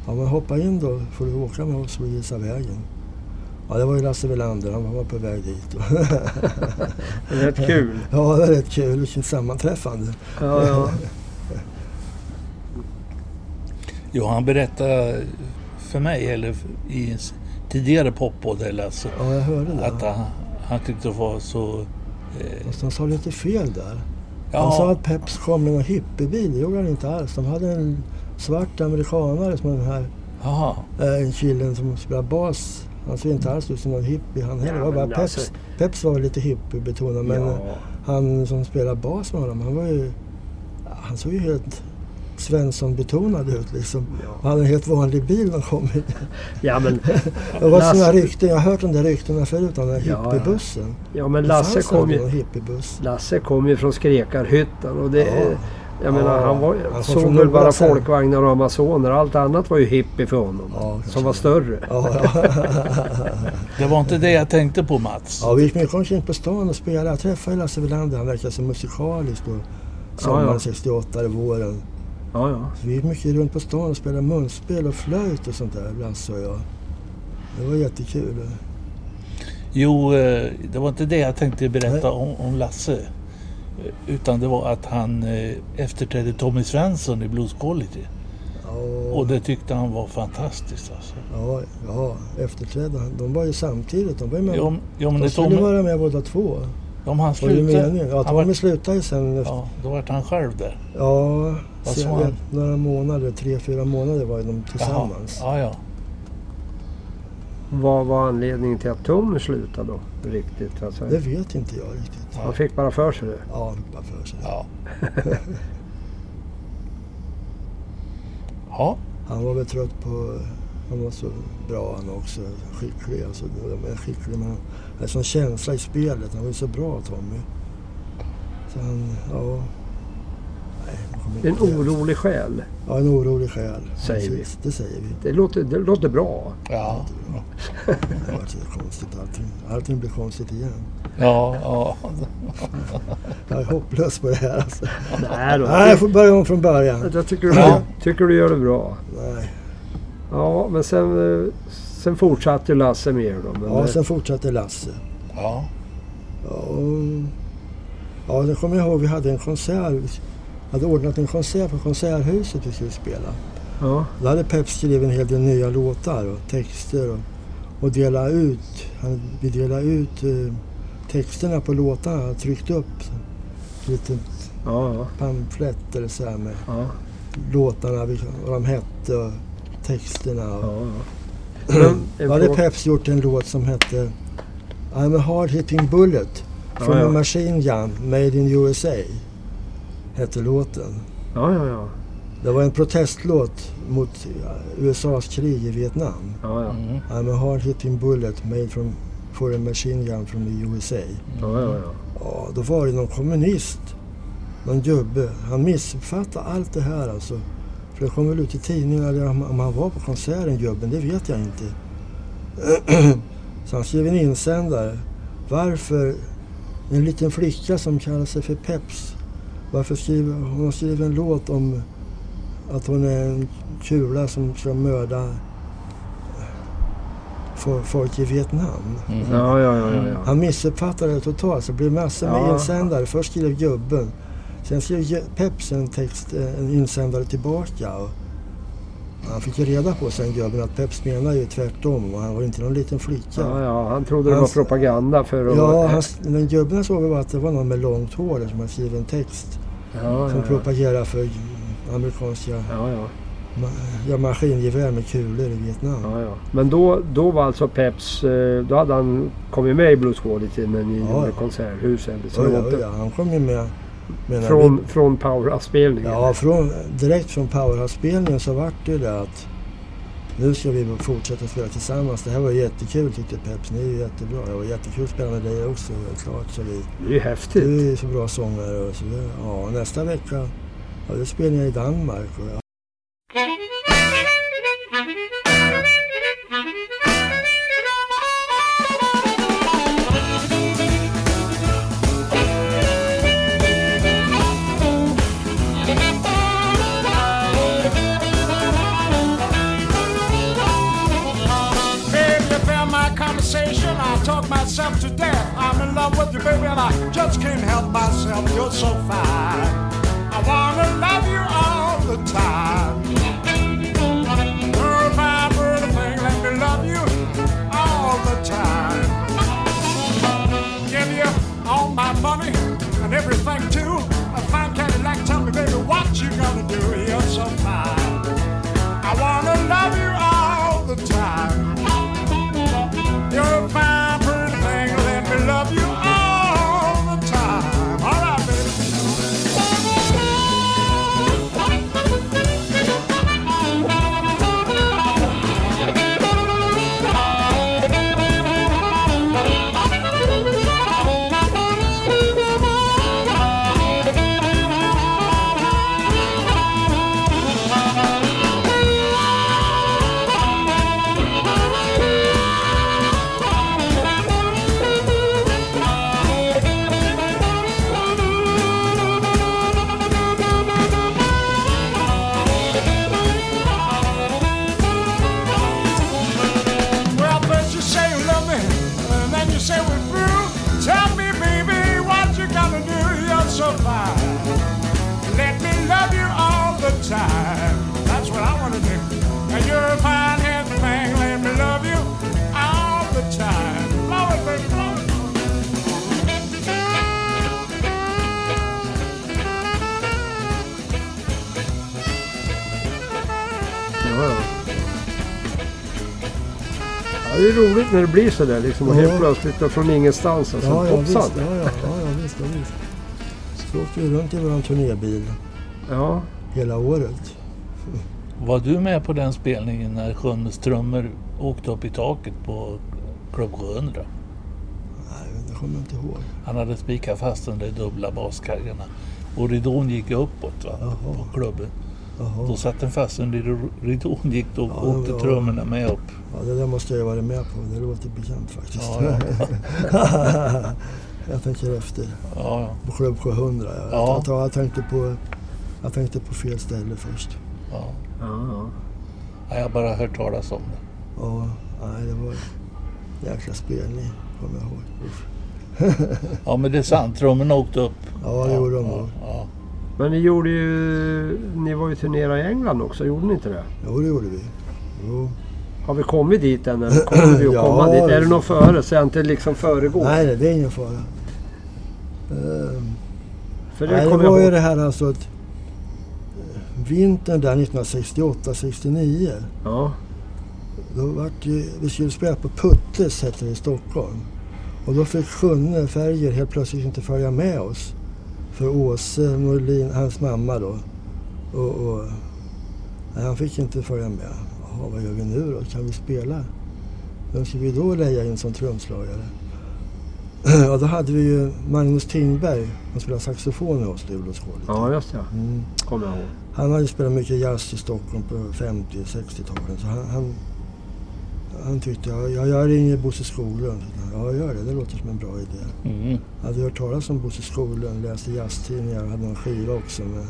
[SPEAKER 3] Ja, men hoppa in då får du åka med oss och visa vägen. Ja, det var ju Lasse Welander. Han var på väg dit.
[SPEAKER 2] Rätt kul.
[SPEAKER 3] ja, det var rätt kul. Vilket sammanträffande.
[SPEAKER 2] Ja, ja.
[SPEAKER 1] Jo, han berättade för mig, eller i en s- tidigare poppodd, eller alltså,
[SPEAKER 3] Ja, jag hörde det.
[SPEAKER 1] att han, han tyckte det var så... Eh,
[SPEAKER 3] Fast han sa lite fel där. Han sa
[SPEAKER 1] ja,
[SPEAKER 3] att Peps kom med en hippiebil. Det gjorde han inte alls. De hade en svart amerikanare som den här
[SPEAKER 1] jaha.
[SPEAKER 3] eh, en killen som spelar bas. Han ser inte alls ut som någon hippie han heller.
[SPEAKER 2] Ja,
[SPEAKER 3] Det var bara
[SPEAKER 2] men
[SPEAKER 3] Peps.
[SPEAKER 2] alltså-
[SPEAKER 3] Peps var väl lite hippiebetonad men
[SPEAKER 2] Ja.
[SPEAKER 3] eh, han som spelar bas med honom han var ju... ja, Han såg ju helt Svensson-betonad ut liksom.
[SPEAKER 2] Ja.
[SPEAKER 3] Och hade en helt vanlig bil när han kom i.
[SPEAKER 2] Ja, men,
[SPEAKER 3] Det var
[SPEAKER 2] Lasse-
[SPEAKER 3] sådana rykten. Jag har hört de där ryktena förut om den där
[SPEAKER 2] Ja, ja.
[SPEAKER 3] hippiebussen.
[SPEAKER 2] ja, men
[SPEAKER 3] Det
[SPEAKER 2] Lasse
[SPEAKER 3] fanns
[SPEAKER 2] kom
[SPEAKER 3] aldrig
[SPEAKER 2] ju...
[SPEAKER 3] någon hippiebuss.
[SPEAKER 2] Lasse kom ju från Skrekarhyttan och det...
[SPEAKER 3] Ja.
[SPEAKER 2] Jag menar
[SPEAKER 3] Ja,
[SPEAKER 2] han var,
[SPEAKER 3] han kom
[SPEAKER 2] såg
[SPEAKER 3] från
[SPEAKER 2] väl bara
[SPEAKER 3] Norrland.
[SPEAKER 2] folkvagnar och amazoner. Allt annat var ju hippie för honom.
[SPEAKER 3] Ja, kanske
[SPEAKER 2] som var större.
[SPEAKER 3] Ja, ja.
[SPEAKER 1] Det var inte det jag tänkte på Mats.
[SPEAKER 3] ja, vi gick mycket omkring på stan och spelade. Jag träffade Lasse Welander. Han verkade så musikalisk på sommaren
[SPEAKER 2] Ja, ja.
[SPEAKER 3] 68, eller våren.
[SPEAKER 2] Ja, ja.
[SPEAKER 3] Vi gick mycket runt på stan och spelade munspel och flöjt och sånt där ibland så jag. Det var jättekul.
[SPEAKER 1] Jo, eh, det var inte det jag tänkte
[SPEAKER 3] Nej.
[SPEAKER 1] berätta om, om Lasse. Eh, Utan det var att han eh, efterträdde Tommy Svensson i Blues Quality.
[SPEAKER 3] Ja,
[SPEAKER 1] Och det tyckte han var fantastiskt alltså.
[SPEAKER 3] ja, ja efterträdaren. De var ju samtidigt. De var ju med.
[SPEAKER 1] Jo, jo men
[SPEAKER 3] de
[SPEAKER 1] när
[SPEAKER 3] skulle
[SPEAKER 1] Tommy,
[SPEAKER 3] vara med båda två.
[SPEAKER 1] om han
[SPEAKER 3] Var det meningen?
[SPEAKER 1] slutade,
[SPEAKER 3] Ja,
[SPEAKER 1] han var,
[SPEAKER 3] Tommy slutade ju sen. efter-
[SPEAKER 1] ja, då vart han själv där.
[SPEAKER 3] Ja,
[SPEAKER 1] Vad
[SPEAKER 3] sen
[SPEAKER 1] sa han?
[SPEAKER 3] ett- några månader. Tre, fyra månader var ju de
[SPEAKER 1] Jaha.
[SPEAKER 3] tillsammans.
[SPEAKER 1] Ja, ja.
[SPEAKER 2] Vad var anledningen till att Tom slutade då? Riktigt alltså.
[SPEAKER 3] Det vet inte jag riktigt.
[SPEAKER 2] Han fick bara för sig det.
[SPEAKER 3] Ja, han fick bara för sig.
[SPEAKER 1] Ja. ja.
[SPEAKER 3] Han var väl trött på... Han var så bra han också. Skicklig. Alltså, de är skicklig men han hade sån känsla i spelet. Han var ju så bra Tommy. Så han, ja... Nej, jag kommer inte
[SPEAKER 2] En
[SPEAKER 3] ihåg.
[SPEAKER 2] orolig själ.
[SPEAKER 3] Ja, en orolig själ.
[SPEAKER 2] Säger vi.
[SPEAKER 3] Precis, Det säger vi.
[SPEAKER 2] Det låter, det låter bra.
[SPEAKER 1] Ja.
[SPEAKER 3] Det var så konstigt allting. Allting blir konstigt igen.
[SPEAKER 1] Ja, ja.
[SPEAKER 3] Jag är hopplös på det här alltså.
[SPEAKER 2] Nej då.
[SPEAKER 3] Nej, jag får börja om från början.
[SPEAKER 2] Jag tycker du,
[SPEAKER 1] Ja.
[SPEAKER 2] tycker du gör det bra.
[SPEAKER 3] Nej.
[SPEAKER 2] Ja, men sen, eh, sen fortsatte ju Lasse med er då. Men eh,
[SPEAKER 3] Ja, sen fortsatte Lasse.
[SPEAKER 1] ja.
[SPEAKER 3] Ja, och- Ja, det kommer jag ihåg. Vi hade en konsert. Vi hade ordnat en konsert på Konserthuset vi skulle spela.
[SPEAKER 2] ja,
[SPEAKER 3] Då hade Pep skrivit en hel del nya låtar och texter och, och delat ut. Han, vi delade ut eh, texterna på låtarna. Han tryckte upp en liten
[SPEAKER 2] ja, ja,
[SPEAKER 3] pamflett eller så här med
[SPEAKER 2] ja,
[SPEAKER 3] låtarna, vilka- vad de hette och texterna.
[SPEAKER 2] ja,
[SPEAKER 3] Och,
[SPEAKER 2] ja. Men, en
[SPEAKER 3] Då hade
[SPEAKER 2] fråga-
[SPEAKER 3] Peps gjort en låt som hette I'm a hard hitting bullet from
[SPEAKER 2] Ja, ja.
[SPEAKER 3] a machine gun made in USA. Hette låten.
[SPEAKER 2] ja, ja, ja,
[SPEAKER 3] Det var en protestlåt mot ja, USAs krig i Vietnam.
[SPEAKER 2] ja, ja,
[SPEAKER 1] Mm.
[SPEAKER 3] I'm a hard hitting bullet made from, for a machine gun from the USA.
[SPEAKER 2] ja, ja, ja.
[SPEAKER 3] Ja, då var det någon kommunist, någon gubbe. Han missuppfattade allt det här alltså. För det kom väl ut i tidningar, eller om om han var på konserten gubben, det vet jag inte. Så han skrev en insändare. Varför en liten flicka som kallar sig för Peps, varför skriver hon har skrivit en låt om att hon är en kula som ska mörda fo- folk i Vietnam?
[SPEAKER 1] Mm.
[SPEAKER 2] ja, ja, ja, ja, ja.
[SPEAKER 3] Han missuppfattade det totalt. Så det blev massor med
[SPEAKER 2] Ja.
[SPEAKER 3] insändare. Först skrev gubben. Sen skrev Ge- Peps en, text, eh, en insändare tillbaka. Och han fick ju reda på sen gubben att Peps menar ju tvärtom. Och han var ju inte någon liten flicka.
[SPEAKER 2] Ja, ja, han trodde det var
[SPEAKER 3] Hans-
[SPEAKER 2] propaganda för att...
[SPEAKER 3] Ja, han, den gubben såg väl bara att det var någon med långt hår där som hade skrivit en text
[SPEAKER 2] ja,
[SPEAKER 3] som
[SPEAKER 2] ja, ja.
[SPEAKER 3] propagerar för amerikanska
[SPEAKER 2] Ja, ja,
[SPEAKER 3] ma- ja, maskingevär med kulor i Vietnam.
[SPEAKER 2] ja, ja. Men då, då var alltså Peps... eh, Då hade han kommit med i Blues Quality när ni
[SPEAKER 3] Ja,
[SPEAKER 2] gjorde
[SPEAKER 3] ja.
[SPEAKER 2] Konserthuset. Så
[SPEAKER 3] Oj,
[SPEAKER 2] det var
[SPEAKER 3] oj,
[SPEAKER 2] inte-
[SPEAKER 3] oj, han kom ju med. menar vi-
[SPEAKER 2] Från, från Power-spelningen.
[SPEAKER 3] Ja, från, direkt från Powerhouse-spelningen så vart det ju det att nu ska vi fortsätta spela tillsammans. Det här var jättekul tyckte Peps. Ni är ju jättebra. Det var jättekul att spela med dig också helt klart. Så vi,
[SPEAKER 2] Det är ju häftigt.
[SPEAKER 3] du är ju så bra sångare. Och så, vidare. ja, nästa vecka ja, då spelar jag i Danmark. Och jag,
[SPEAKER 7] Baby, you felt my conversation.
[SPEAKER 4] myself to death. I'm in love with you, baby, and I just can't help myself. You're so fine. I wanna love you all the time. Girl, my pretty thing, let me love you all the time. Give you all my money and everything too. A fine Cadillac, tell me, baby, what you gonna do? You're so fine. I wanna love you all the time. You're a fine, pretty thing. Let me love you all the time. All right, baby. Well, first you say you love me, and then you say we're through. Tell me, baby, what you gonna do? You're so fine. Let me love you all the time. That's what I wanna do. And you're a fine handsome thing. Let me love you all the time. Blow it, baby, blow it.
[SPEAKER 5] Ja, ja. Ja, det är roligt när det blir sådär liksom och
[SPEAKER 3] Ja.
[SPEAKER 5] helt plötsligt och från ingenstans. Alltså,
[SPEAKER 3] Ja, ja, visst.
[SPEAKER 5] hoppsan.
[SPEAKER 3] Ja, ja, ja, ja, visst, ja, visst. Så åkte vi runt i vår turnébil
[SPEAKER 5] Ja.
[SPEAKER 3] hela året.
[SPEAKER 1] Var du med på den spelningen när Sjöns trummor åkte upp i taket på Klubb 700?
[SPEAKER 3] Nej, det kommer jag inte ihåg.
[SPEAKER 1] Han hade spikat fast de där dubbla baskaggarna. Och ridån gick uppåt va,
[SPEAKER 3] Jaha.
[SPEAKER 1] på klubben. Då
[SPEAKER 3] Jaha.
[SPEAKER 1] satt den fast under rid- ridån gick då
[SPEAKER 3] Ja,
[SPEAKER 1] åkte
[SPEAKER 3] det var-
[SPEAKER 1] trummorna med upp.
[SPEAKER 3] Ja, det där måste jag ju varit med på. Det låter bekant faktiskt.
[SPEAKER 1] Ja,
[SPEAKER 3] jag tänker efter.
[SPEAKER 1] Ja, ja,
[SPEAKER 3] På Klubb 700. Ja.
[SPEAKER 1] Ja.
[SPEAKER 3] Jag, tar- jag, tänkte på, jag tänkte på fel ställe först.
[SPEAKER 1] ja.
[SPEAKER 5] Ja, ja.
[SPEAKER 1] Ja, Jag har bara hört talas om det.
[SPEAKER 3] Ja, nej, det var en jäkla spelning. Kommer jag ihåg. Usch.
[SPEAKER 1] Ja, men det är sant. Trummorna åkte upp.
[SPEAKER 3] Ja, det gjorde de
[SPEAKER 1] ja,
[SPEAKER 3] nog.
[SPEAKER 1] ja.
[SPEAKER 5] Men ni gjorde ju... Ni var ju turnera i England också, gjorde ni inte det?
[SPEAKER 3] Jo, det gjorde vi. Jo.
[SPEAKER 5] Har vi kommit dit än eller kommer vi att
[SPEAKER 3] Ja.
[SPEAKER 5] komma dit? Är det något före? Så jag inte liksom föregår.
[SPEAKER 3] Nej, nej, det är ingen fara. Ehm,
[SPEAKER 5] För det
[SPEAKER 3] nej, det
[SPEAKER 5] kommer jag
[SPEAKER 3] var ju
[SPEAKER 5] ihåg.
[SPEAKER 3] det här alltså att eh, vintern där 1968-69
[SPEAKER 5] Ja.
[SPEAKER 3] då vart ju, vi skulle spela på Puttes hette det i Stockholm. Och då fick Sjunne Färger helt plötsligt inte följa med oss. För Åse Norlin, hans mamma då. Och, och, nej, han fick inte följa med. Jaha, vad gör vi nu då? Kan vi spela? Vem ska vi då leja in som trumslagare? Och då hade vi ju Magnus Tingberg som spelade saxofon med oss, Luleåskål.
[SPEAKER 5] ja, just det.
[SPEAKER 3] Mm.
[SPEAKER 5] Kommer jag ihåg.
[SPEAKER 3] Han hade spelat mycket jazz i Stockholm på 50 och 60-talen. Så han, han, han tyckte, ja, jag, jag ringer Bosse Skoglund. Så han, Ja, gör det. Det låter som en bra idé.
[SPEAKER 1] Mm.
[SPEAKER 3] Jag hade hört talas om Bosse Skoglund, läste jazztidningar och hade någon skiva också med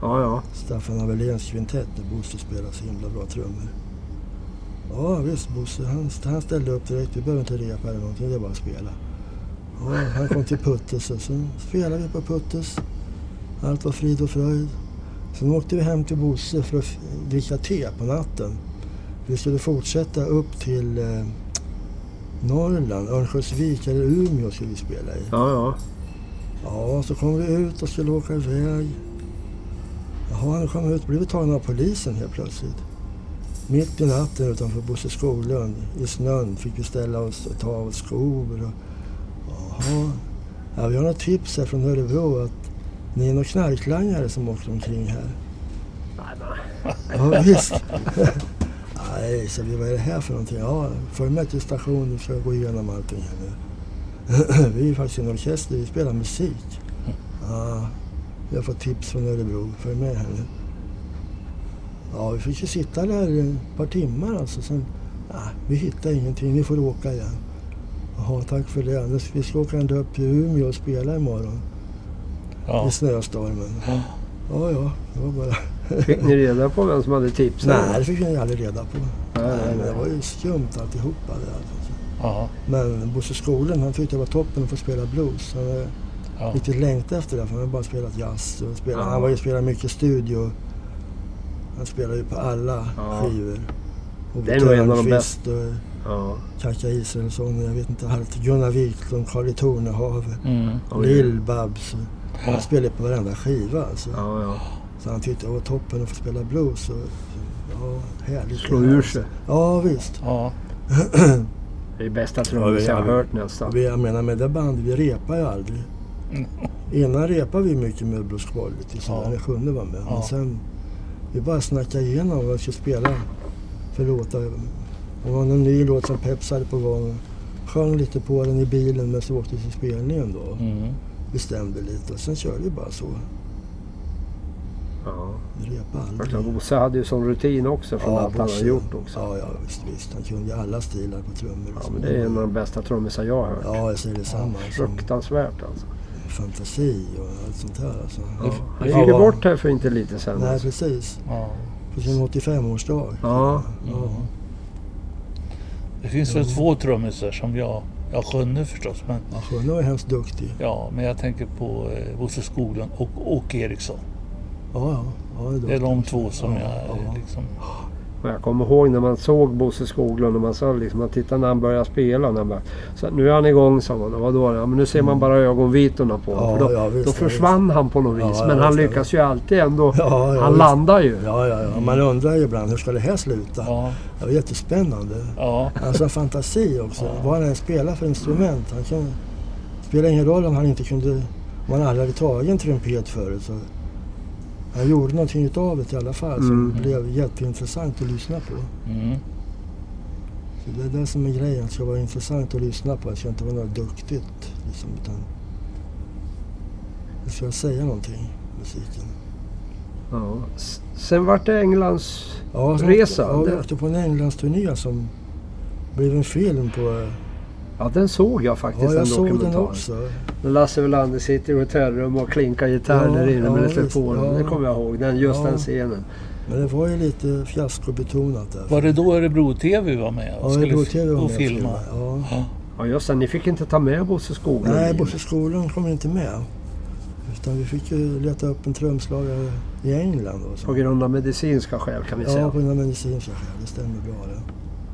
[SPEAKER 5] Ja, ja.
[SPEAKER 3] Staffan Avelins kvintett där Bosse spelade så himla bra trummor. Ja, visst Bosse. Han, han ställde upp direkt. Vi behöver inte repa eller någonting. Det är bara att spela. Ja, han kom till Puttes och sen spelade vi på Puttes. Allt var frid och fröjd. Sen åkte vi hem till Bosse för att f- dricka te på natten. Vi skulle fortsätta upp till eh, Norrland, Örnsköldsvik eller Umeå skulle vi spela i.
[SPEAKER 5] Ja, ja.
[SPEAKER 3] Ja, så kom vi ut och skulle åka iväg. Jaha, nu kom vi ut blev vi tagna av polisen helt plötsligt. Mitt i natten utanför Bosse Skoglund, i snön, fick vi ställa oss och ta av oss skor. Och... Jaha. Ja, vi har något tips här från Örebro att ni är några knarklangare som åker omkring här. Nej, nej. Ja, visst. nej, så vi, vad är det här för någonting? Ja, följ med till stationen, vi ska gå igenom allting här nu. vi är ju faktiskt en orkester, vi spelar musik. Ja, vi har fått tips från Örebro, följ med här nu. Ja, vi fick ju sitta där ett par timmar alltså. Sen, nej, vi hittar ingenting, ni får åka igen. Jaha, tack för det. Nu ska- Vi ska åka ända upp till Umeå och spela imorgon
[SPEAKER 1] Ja.
[SPEAKER 3] i snöstormen.
[SPEAKER 1] Ja.
[SPEAKER 3] Ja, ja, det var bara...
[SPEAKER 5] Fick ni reda på vem som hade tipsat?
[SPEAKER 3] Nej, det fick vi aldrig reda på.
[SPEAKER 5] Nej,
[SPEAKER 3] Nej,
[SPEAKER 5] nej,
[SPEAKER 3] men det
[SPEAKER 5] nej.
[SPEAKER 3] var ju skumt alltihopa det där. alltså.
[SPEAKER 1] Ja,
[SPEAKER 3] Men Bosse Skoglund han tyckte det var toppen att få spela blues. Han hade
[SPEAKER 1] ja.
[SPEAKER 3] riktigt längtat efter det för han hade bara spelat jazz. Och spelat,
[SPEAKER 2] Ja.
[SPEAKER 3] Han var ju spelat mycket studio. Han spelade ju på alla
[SPEAKER 2] Ja.
[SPEAKER 3] skivor. Ove
[SPEAKER 2] Det är nog en av de
[SPEAKER 3] Thörnqvist och
[SPEAKER 2] Ja.
[SPEAKER 3] Kaka Israelsson, jag vet inte allt. Gunnar Wiklund, Karli Tornehave,
[SPEAKER 1] Mm.
[SPEAKER 2] Oj.
[SPEAKER 3] Lill-Babs. Han spelade på varenda skiva alltså.
[SPEAKER 2] Ja, ja.
[SPEAKER 3] Så han tyckte det var toppen att få spela blues. Och, ja, härligt.
[SPEAKER 2] Slå ur sig.
[SPEAKER 3] Ja, visst.
[SPEAKER 1] ja.
[SPEAKER 2] Det är bästa trummis jag har hört nästan.
[SPEAKER 3] Vi, jag menar med det bandet, vi repar ju aldrig. Innan repade vi mycket med Blues Quality, så
[SPEAKER 1] Mm. Ja.
[SPEAKER 3] när kunde vara med.
[SPEAKER 1] Ja.
[SPEAKER 3] Men sen, vi bara snackade igenom vad vi skulle spela för låtar. Det var en ny låt som Peps hade på gång. Sjöng lite på den i bilen men så åkte vi till spelningen då.
[SPEAKER 1] Mm.
[SPEAKER 3] Bestämde lite och sen körde vi bara så.
[SPEAKER 2] Ja.
[SPEAKER 3] Vi repade
[SPEAKER 2] Först,
[SPEAKER 3] aldrig.
[SPEAKER 2] Bosse hade ju sån rutin också från allt han har
[SPEAKER 3] Bosse.
[SPEAKER 2] gjort också. Ja.
[SPEAKER 3] Ja, ja, visst, visst. Han kunde ju alla stilar på trummor. och så.
[SPEAKER 2] men det är en av de bästa trummisar jag har hört.
[SPEAKER 3] Ja, jag säger detsamma. Alltså,
[SPEAKER 2] Fruktansvärt alltså.
[SPEAKER 3] fantasi och allt sånt här alltså.
[SPEAKER 2] Ja. Han
[SPEAKER 3] Ja,
[SPEAKER 2] gick ju
[SPEAKER 3] va.
[SPEAKER 2] bort här för inte lite sen.
[SPEAKER 3] Nej,
[SPEAKER 2] alltså.
[SPEAKER 3] precis.
[SPEAKER 1] ja.
[SPEAKER 3] På sin 85-årsdag.
[SPEAKER 2] Ja,
[SPEAKER 1] Mm. Det finns väl två trummisar som jag, jag sjunde förstås, men,
[SPEAKER 3] Ja, Sjönne var ju hemskt duktig.
[SPEAKER 1] ja, men jag tänker på eh, Bosse Skoglund och Åke Eriksson.
[SPEAKER 3] Ja, ja. ja det är
[SPEAKER 1] Det är
[SPEAKER 3] duktig.
[SPEAKER 1] de två som
[SPEAKER 3] Ja,
[SPEAKER 1] jag eh,
[SPEAKER 3] ja.
[SPEAKER 1] liksom...
[SPEAKER 2] Och jag kommer ihåg när man såg Bosse Skoglund och man sa liksom, man tittade när han började spela. och När han började, så att nu är han igång sa man. Och vadå? Ja, men nu ser man bara ögonvitorna på honom.
[SPEAKER 3] Mm. Ja,
[SPEAKER 2] för då,
[SPEAKER 3] ja, visst,
[SPEAKER 2] då
[SPEAKER 3] ja,
[SPEAKER 2] försvann han på något
[SPEAKER 3] Ja,
[SPEAKER 2] vis.
[SPEAKER 3] ja,
[SPEAKER 2] men han
[SPEAKER 3] visst, ja,
[SPEAKER 2] lyckas ju alltid ändå.
[SPEAKER 3] Ja, ja,
[SPEAKER 2] han
[SPEAKER 3] visst.
[SPEAKER 2] landar ju.
[SPEAKER 3] Ja, ja, ja. Man undrar ju ibland hur ska det här sluta?
[SPEAKER 1] Ja,
[SPEAKER 3] Det var jättespännande.
[SPEAKER 1] ja,
[SPEAKER 3] Han har fantasi också. Vad han än spelar för instrument. Han kan... Det spelar ingen roll om han inte kunde... Om han aldrig hade tagit en trumpet förut. Så... Han gjorde någonting utav det i alla fall som
[SPEAKER 2] Mm.
[SPEAKER 3] blev jätteintressant att lyssna på.
[SPEAKER 1] mm,
[SPEAKER 3] Så det är det som är grejen. Det ska vara intressant att lyssna på. Det ska inte vara något duktigt. Liksom, utan det ska säga någonting, musiken.
[SPEAKER 2] Ja. S- Sen vart det Englands...
[SPEAKER 3] Ja, sen-
[SPEAKER 2] Resa,
[SPEAKER 3] Ja, vi
[SPEAKER 2] det-
[SPEAKER 3] åkte på en Englandsturné som blev en film på...
[SPEAKER 2] Ja, den såg jag faktiskt.
[SPEAKER 3] Ja, jag såg den
[SPEAKER 2] dokumentären.
[SPEAKER 3] också.
[SPEAKER 2] När Lasse Welander sitter i hotellrum och klinkar gitarr
[SPEAKER 3] Ja,
[SPEAKER 2] där inne med
[SPEAKER 3] ja,
[SPEAKER 2] lite
[SPEAKER 3] visst,
[SPEAKER 2] på
[SPEAKER 3] ja.
[SPEAKER 2] Det kommer jag ihåg. Den, just
[SPEAKER 3] Ja.
[SPEAKER 2] den scenen.
[SPEAKER 3] Men det var ju lite fiaskobetonat där.
[SPEAKER 1] Var det då Örebro-TV var med och
[SPEAKER 3] Ja,
[SPEAKER 1] skulle
[SPEAKER 3] Örebro TV var med
[SPEAKER 1] och
[SPEAKER 3] och
[SPEAKER 1] filma?
[SPEAKER 3] filmade, ja.
[SPEAKER 1] Ja.
[SPEAKER 2] Ja, just det. Ni fick inte ta med Bosse Skoglund.
[SPEAKER 3] Nej,
[SPEAKER 2] in.
[SPEAKER 3] Bosse Skoglund kom inte med. Utan vi fick ju leta upp en trumslagare i England. Då,
[SPEAKER 2] På
[SPEAKER 3] så.
[SPEAKER 2] grund av medicinska skäl kan vi
[SPEAKER 3] Ja,
[SPEAKER 2] säga.
[SPEAKER 3] på grund av medicinska skäl. Det stämmer bra det.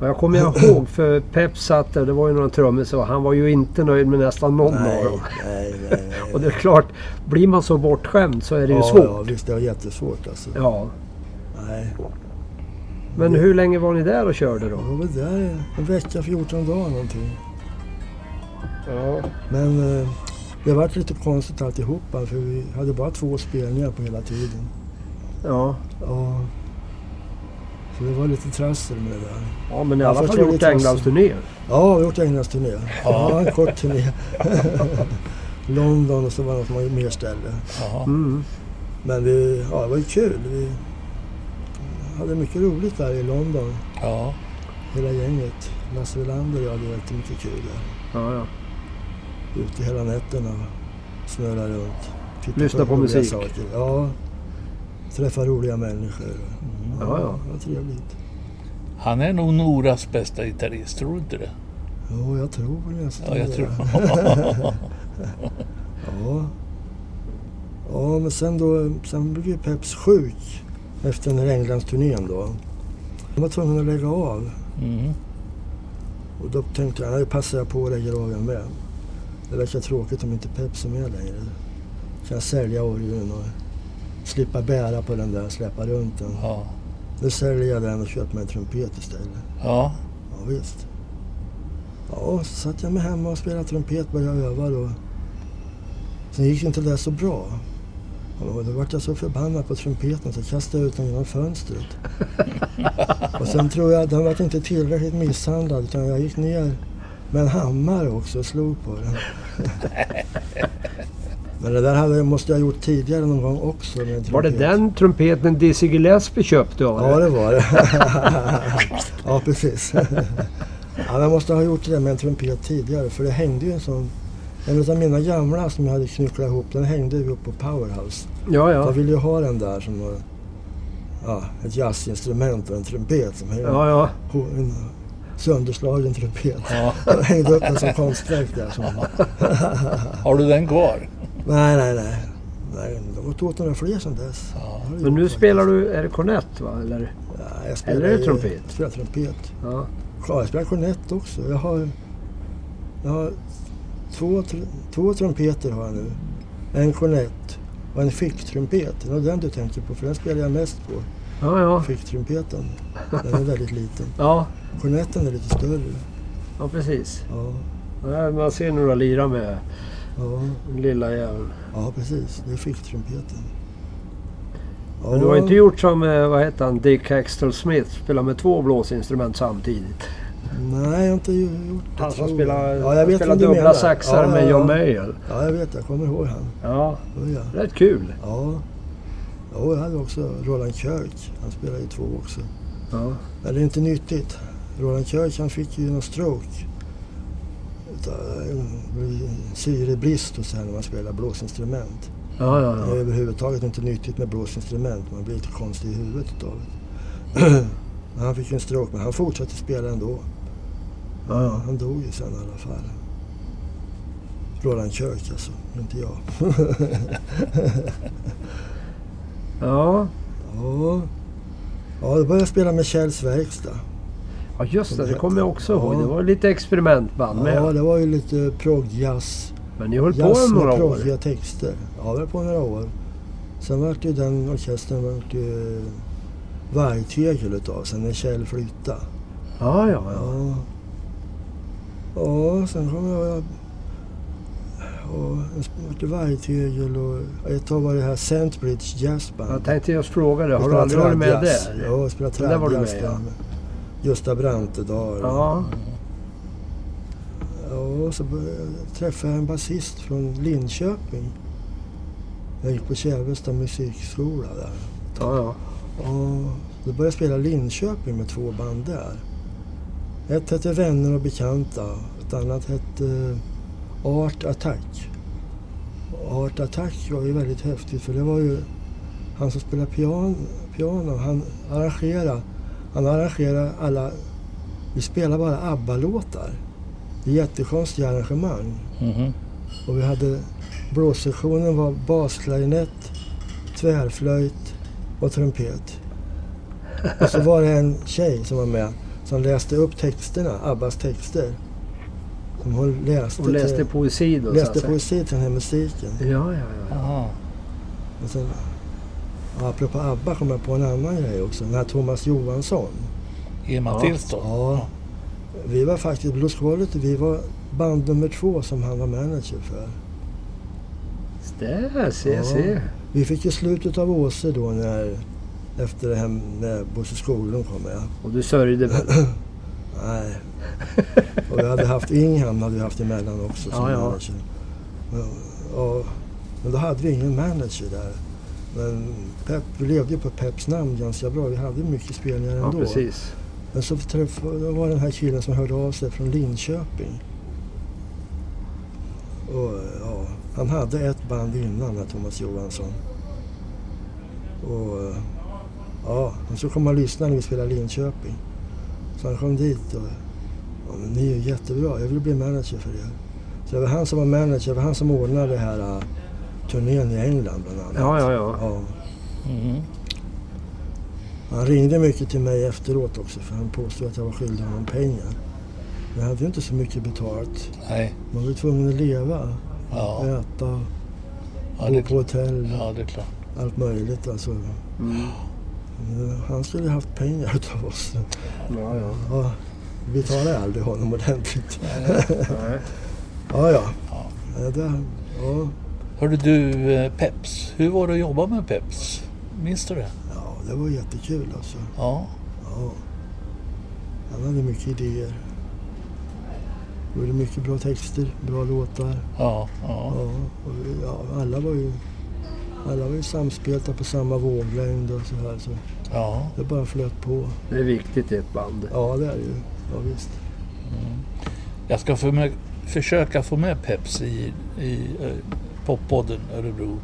[SPEAKER 2] Ja, Jag kommer ihåg för Pep satt där, det var ju några trummisar och han var ju inte nöjd med nästan någon av
[SPEAKER 3] Nej,
[SPEAKER 2] dem.
[SPEAKER 3] nej, nej. nej.
[SPEAKER 2] Och det är klart, blir man så bortskämd så är det ju
[SPEAKER 3] ja, Ja,
[SPEAKER 2] svårt.
[SPEAKER 3] visst. Det var jättesvårt alltså.
[SPEAKER 2] Ja.
[SPEAKER 3] Nej.
[SPEAKER 2] Men hur länge var ni där och körde
[SPEAKER 3] Jag
[SPEAKER 2] då?
[SPEAKER 3] var väl där en vecka, 14 dagar någonting.
[SPEAKER 2] Ja.
[SPEAKER 3] Men eh, det vart lite konstigt alltihopa för vi hade bara två spelningar på hela tiden.
[SPEAKER 2] Ja,
[SPEAKER 3] Ja. Så det var lite trassel med det där.
[SPEAKER 2] ja men i
[SPEAKER 3] Ja,
[SPEAKER 2] alla
[SPEAKER 3] först
[SPEAKER 2] fall
[SPEAKER 3] var det
[SPEAKER 2] gjort
[SPEAKER 3] trassel.
[SPEAKER 2] Englandsturné.
[SPEAKER 3] Ja, vi har gjort Englandsturné. Ja, en kort turné. London och så var det något mer ställe.
[SPEAKER 1] Ja.
[SPEAKER 2] Mm.
[SPEAKER 3] Men vi, ja, det var ju kul. Vi hade mycket roligt där i London,
[SPEAKER 1] Ja.
[SPEAKER 3] hela gänget. Lasse Welander och jag hade jättemycket kul där.
[SPEAKER 2] Ja, ja.
[SPEAKER 3] Ute hela nätterna och snurrade runt. Tittade
[SPEAKER 2] Lyssna på
[SPEAKER 3] roliga
[SPEAKER 2] musik.
[SPEAKER 3] Saker. Ja. Träffa roliga människor.
[SPEAKER 2] Ja, ja.
[SPEAKER 3] Det var trevligt.
[SPEAKER 1] Han är nog Noras bästa gitarrist, tror du inte det?
[SPEAKER 3] Jo, jag tror nästan
[SPEAKER 1] Ja, jag
[SPEAKER 3] det.
[SPEAKER 1] tror
[SPEAKER 3] Ja. Ja, men sen då, sen blev ju Peps sjuk efter den här Englandsturnén då. Han var tvungen att lägga av
[SPEAKER 1] mm.
[SPEAKER 3] och då tänkte jag, nu passar jag på och lägger av jag med. Det verkar tråkigt om inte Peps är med längre. Kan jag sälja orgeln och slippa bära på den där och släppa runt den.
[SPEAKER 1] ja.
[SPEAKER 3] Nu säljer jag den och köper mig en trumpet istället.
[SPEAKER 1] Ja.
[SPEAKER 3] Ja, visst. Ja, så satt jag med hemma och spelade trumpet, började öva då. Sen gick ju inte det så bra. Och då vart jag så förbannad på trumpeten så jag kastade ut den genom fönstret. och sen tror jag, den vart inte tillräckligt misshandlad utan jag gick ner med en hammare också och slog på den. Men det där hade, måste jag ha gjort tidigare någon gång också. Med en
[SPEAKER 2] Var det
[SPEAKER 3] trumpet.
[SPEAKER 2] den trumpeten Dizzy Gillespie köpte av
[SPEAKER 3] Ja,
[SPEAKER 2] er?
[SPEAKER 3] det var det. ja, precis. ja, jag måste ha gjort det där med en trumpet tidigare för det hängde ju en sån. En av mina gamla som jag hade knycklat ihop, den hängde ju uppe på Powerhouse.
[SPEAKER 2] Ja,
[SPEAKER 3] Jag
[SPEAKER 2] ja.
[SPEAKER 3] ville ju ha den där som var ja, ett jazzinstrument och en trumpet som hängde
[SPEAKER 2] Ja, ja.
[SPEAKER 3] på en sönderslagen trumpet.
[SPEAKER 1] Ja.
[SPEAKER 3] Jag hängde upp den som konstverk där. Som...
[SPEAKER 1] Har du den kvar?
[SPEAKER 3] nej, nej, nej. nej de har tagit några fler sedan dess. Ja.
[SPEAKER 2] Men nu spelar du, är det kornett va? Eller?
[SPEAKER 3] Ja, jag spelar,
[SPEAKER 2] Eller är det
[SPEAKER 3] ju-
[SPEAKER 2] trumpet?
[SPEAKER 3] Jag spelar trumpet.
[SPEAKER 2] Ja.
[SPEAKER 3] Ja, jag spelar kornett också. Jag har, jag har två, tr- två trumpeter har jag nu. En kornett och en ficktrumpet. Det var den du tänkte på, för den spelar jag mest på.
[SPEAKER 2] Ja, ja.
[SPEAKER 3] Ficktrumpeten. Den är väldigt liten.
[SPEAKER 2] Ja,
[SPEAKER 3] Kornetten är lite större.
[SPEAKER 2] ja precis.
[SPEAKER 3] Ja,
[SPEAKER 2] Ja, Man ser några lira med
[SPEAKER 3] ja,
[SPEAKER 2] den lilla jäveln.
[SPEAKER 3] ja precis. Det är ficktrumpeten. Ja,
[SPEAKER 2] Men du har inte gjort som, eh, vad heter han, Dick Hextall Smith. Spela med två blåsinstrument samtidigt.
[SPEAKER 3] Nej, jag har inte gjort det.
[SPEAKER 2] Han som
[SPEAKER 3] tror jag.
[SPEAKER 2] spelar,
[SPEAKER 3] ja, jag
[SPEAKER 2] han
[SPEAKER 3] vet
[SPEAKER 2] spelar
[SPEAKER 3] vem du
[SPEAKER 2] dubbla
[SPEAKER 3] menar.
[SPEAKER 2] saxar
[SPEAKER 3] Ja,
[SPEAKER 2] med
[SPEAKER 3] ja,
[SPEAKER 2] John
[SPEAKER 3] ja.
[SPEAKER 2] Mayall.
[SPEAKER 3] Ja, jag vet. Jag kommer ihåg han.
[SPEAKER 2] Ja,
[SPEAKER 3] Oh, ja.
[SPEAKER 2] rätt kul.
[SPEAKER 3] Ja. Jo, jag hade också Roland Kirk. Han spelade ju två också.
[SPEAKER 2] Ja.
[SPEAKER 3] Men det är inte nyttigt. Roland Kirk han fick ju någon stroke. Utav en Syrebrist och så här när man spelar blåsinstrument.
[SPEAKER 2] Ja, ja,
[SPEAKER 3] Det
[SPEAKER 2] ja.
[SPEAKER 3] är överhuvudtaget inte nyttigt med blåsinstrument. Man blir lite konstig i huvudet utav det. Men han fick ju en stroke, men han fortsatte spela ändå.
[SPEAKER 2] Ja, ja.
[SPEAKER 3] Han dog ju sen i alla fall. Roland Kirk alltså, inte jag.
[SPEAKER 2] ja.
[SPEAKER 3] Ja, ja då började jag spela med Kjells verkstad.
[SPEAKER 2] ja just det. Det kommer jag också ihåg. Det var lite experimentband
[SPEAKER 3] Ja,
[SPEAKER 2] med.
[SPEAKER 3] det var ju lite proggjazz.
[SPEAKER 2] Men ni höll på
[SPEAKER 3] Jazz
[SPEAKER 2] i några
[SPEAKER 3] med
[SPEAKER 2] år.
[SPEAKER 3] proggiga texter. Ja, vi höll på några år. Sen vart ju den orkestern vart ju vargtegel utav sen när Kjell flyttade.
[SPEAKER 2] Ja, ja, ja.
[SPEAKER 3] Ja. Ja, sen kom jag... Ja, det vart ju vargtegel och ett tag var det här Sandbridge Jazzband.
[SPEAKER 2] Jag tänkte just fråga dig.
[SPEAKER 3] Jag
[SPEAKER 2] Har du
[SPEAKER 3] spelar
[SPEAKER 2] aldrig varit med
[SPEAKER 3] tradjazz.
[SPEAKER 2] där?
[SPEAKER 3] Ja, jag spelade
[SPEAKER 2] Men där var du
[SPEAKER 3] tradjazz
[SPEAKER 2] med, ja.
[SPEAKER 3] där med Gösta Brantedahl.
[SPEAKER 2] Ja.
[SPEAKER 3] Ja, och så började jag- träffade jag en basist från Linköping. Jag gick på Kävesta musikskola där.
[SPEAKER 2] Ja, ja.
[SPEAKER 3] Och då började jag spela Linköping med två band där. Ett hette Vänner och bekanta. Ett annat hette Art Attack. Art Attack var ju väldigt häftigt för det var ju han som spelade pian, piano. Han arrangerade, han arrangerade alla... Vi spelade bara ABBA-låtar. Det är jättekonstiga arrangemang.
[SPEAKER 1] Mhm.
[SPEAKER 3] Och vi hade blåssektionen var basklarinett, tvärflöjt och trumpet. Och så var det en tjej som var med som läste upp texterna, Abbas texter. Som hon läste,
[SPEAKER 2] Och läste
[SPEAKER 3] till,
[SPEAKER 2] poesi då. så att
[SPEAKER 3] läste
[SPEAKER 2] säga.
[SPEAKER 3] poesi till den här musiken.
[SPEAKER 2] Ja, ja, ja.
[SPEAKER 1] Jaha.
[SPEAKER 3] Och sen, ja, apropå Abba kom jag på en annan grej också. Den här Thomas Johansson.
[SPEAKER 1] Ger man
[SPEAKER 2] Ja.
[SPEAKER 1] tillstånd?
[SPEAKER 3] Ja. Vi var faktiskt, Blues Quality, vi var band nummer två som han var manager för.
[SPEAKER 2] Där, se,
[SPEAKER 3] Ja.
[SPEAKER 2] se.
[SPEAKER 3] Vi fick ju slutet av Åse då när, efter det här när Bosse Skoglund kom med.
[SPEAKER 2] Och du sörjde väl?
[SPEAKER 3] Nej. Och vi hade haft Ingham hade vi haft emellan också som
[SPEAKER 2] Ja, ja.
[SPEAKER 3] manager. Men, och, men då hade vi ingen manager där. Men Pep, vi levde ju på Peps namn ganska bra. Vi hade mycket spelningar
[SPEAKER 2] Ja,
[SPEAKER 3] ändå.
[SPEAKER 2] precis.
[SPEAKER 3] Men så träffade, då var det den här killen som hörde av sig från Linköping. Och, ja, han hade ett band innan, här, Thomas Johansson. Och ja, de skulle komma och lyssna när vi spelade Linköping. Så han kom dit och ja, men ni är ju jättebra, jag vill bli manager för er. Så det var han som var manager, det var han som ordnade det här eh, turnén i England bland annat.
[SPEAKER 2] Ja, ja, ja.
[SPEAKER 3] Ja.
[SPEAKER 1] Mhm.
[SPEAKER 3] Han ringde mycket till mig efteråt också för han påstod att jag var skyldig honom pengar. Men jag hade ju inte så mycket betalt.
[SPEAKER 1] Nej.
[SPEAKER 3] Man var ju tvungen att leva,
[SPEAKER 1] Ja.
[SPEAKER 3] äta,
[SPEAKER 1] Ja,
[SPEAKER 3] bo
[SPEAKER 1] det, Mm.
[SPEAKER 3] på hotell,
[SPEAKER 1] ja, det är klart.
[SPEAKER 3] allt möjligt alltså. Men eh, Han skulle ju haft pengar utav oss.
[SPEAKER 2] ja, ja.
[SPEAKER 3] Ja, vi betalade aldrig honom ordentligt.
[SPEAKER 2] Nej.
[SPEAKER 3] Ja, ja. ja. det, ja.
[SPEAKER 1] Hörde du, eh, Peps. Hur var det att jobba med Peps? Minns du det?
[SPEAKER 3] ja, det var jättekul alltså.
[SPEAKER 1] Ja.
[SPEAKER 3] Ja. Han hade mycket idéer. Gjorde mycket bra texter, bra låtar.
[SPEAKER 1] Ja. ja.
[SPEAKER 3] Ja, och vi- ja, alla var ju alla var ju samspelta på samma våglängd och så här. Så
[SPEAKER 1] ja.
[SPEAKER 3] det bara flöt på.
[SPEAKER 2] Det är viktigt i ett band.
[SPEAKER 3] Ja, det är det ju. Ja, visst.
[SPEAKER 1] Jag ska för mig, försöka få med Peps i, i eh, poppodden Örebro,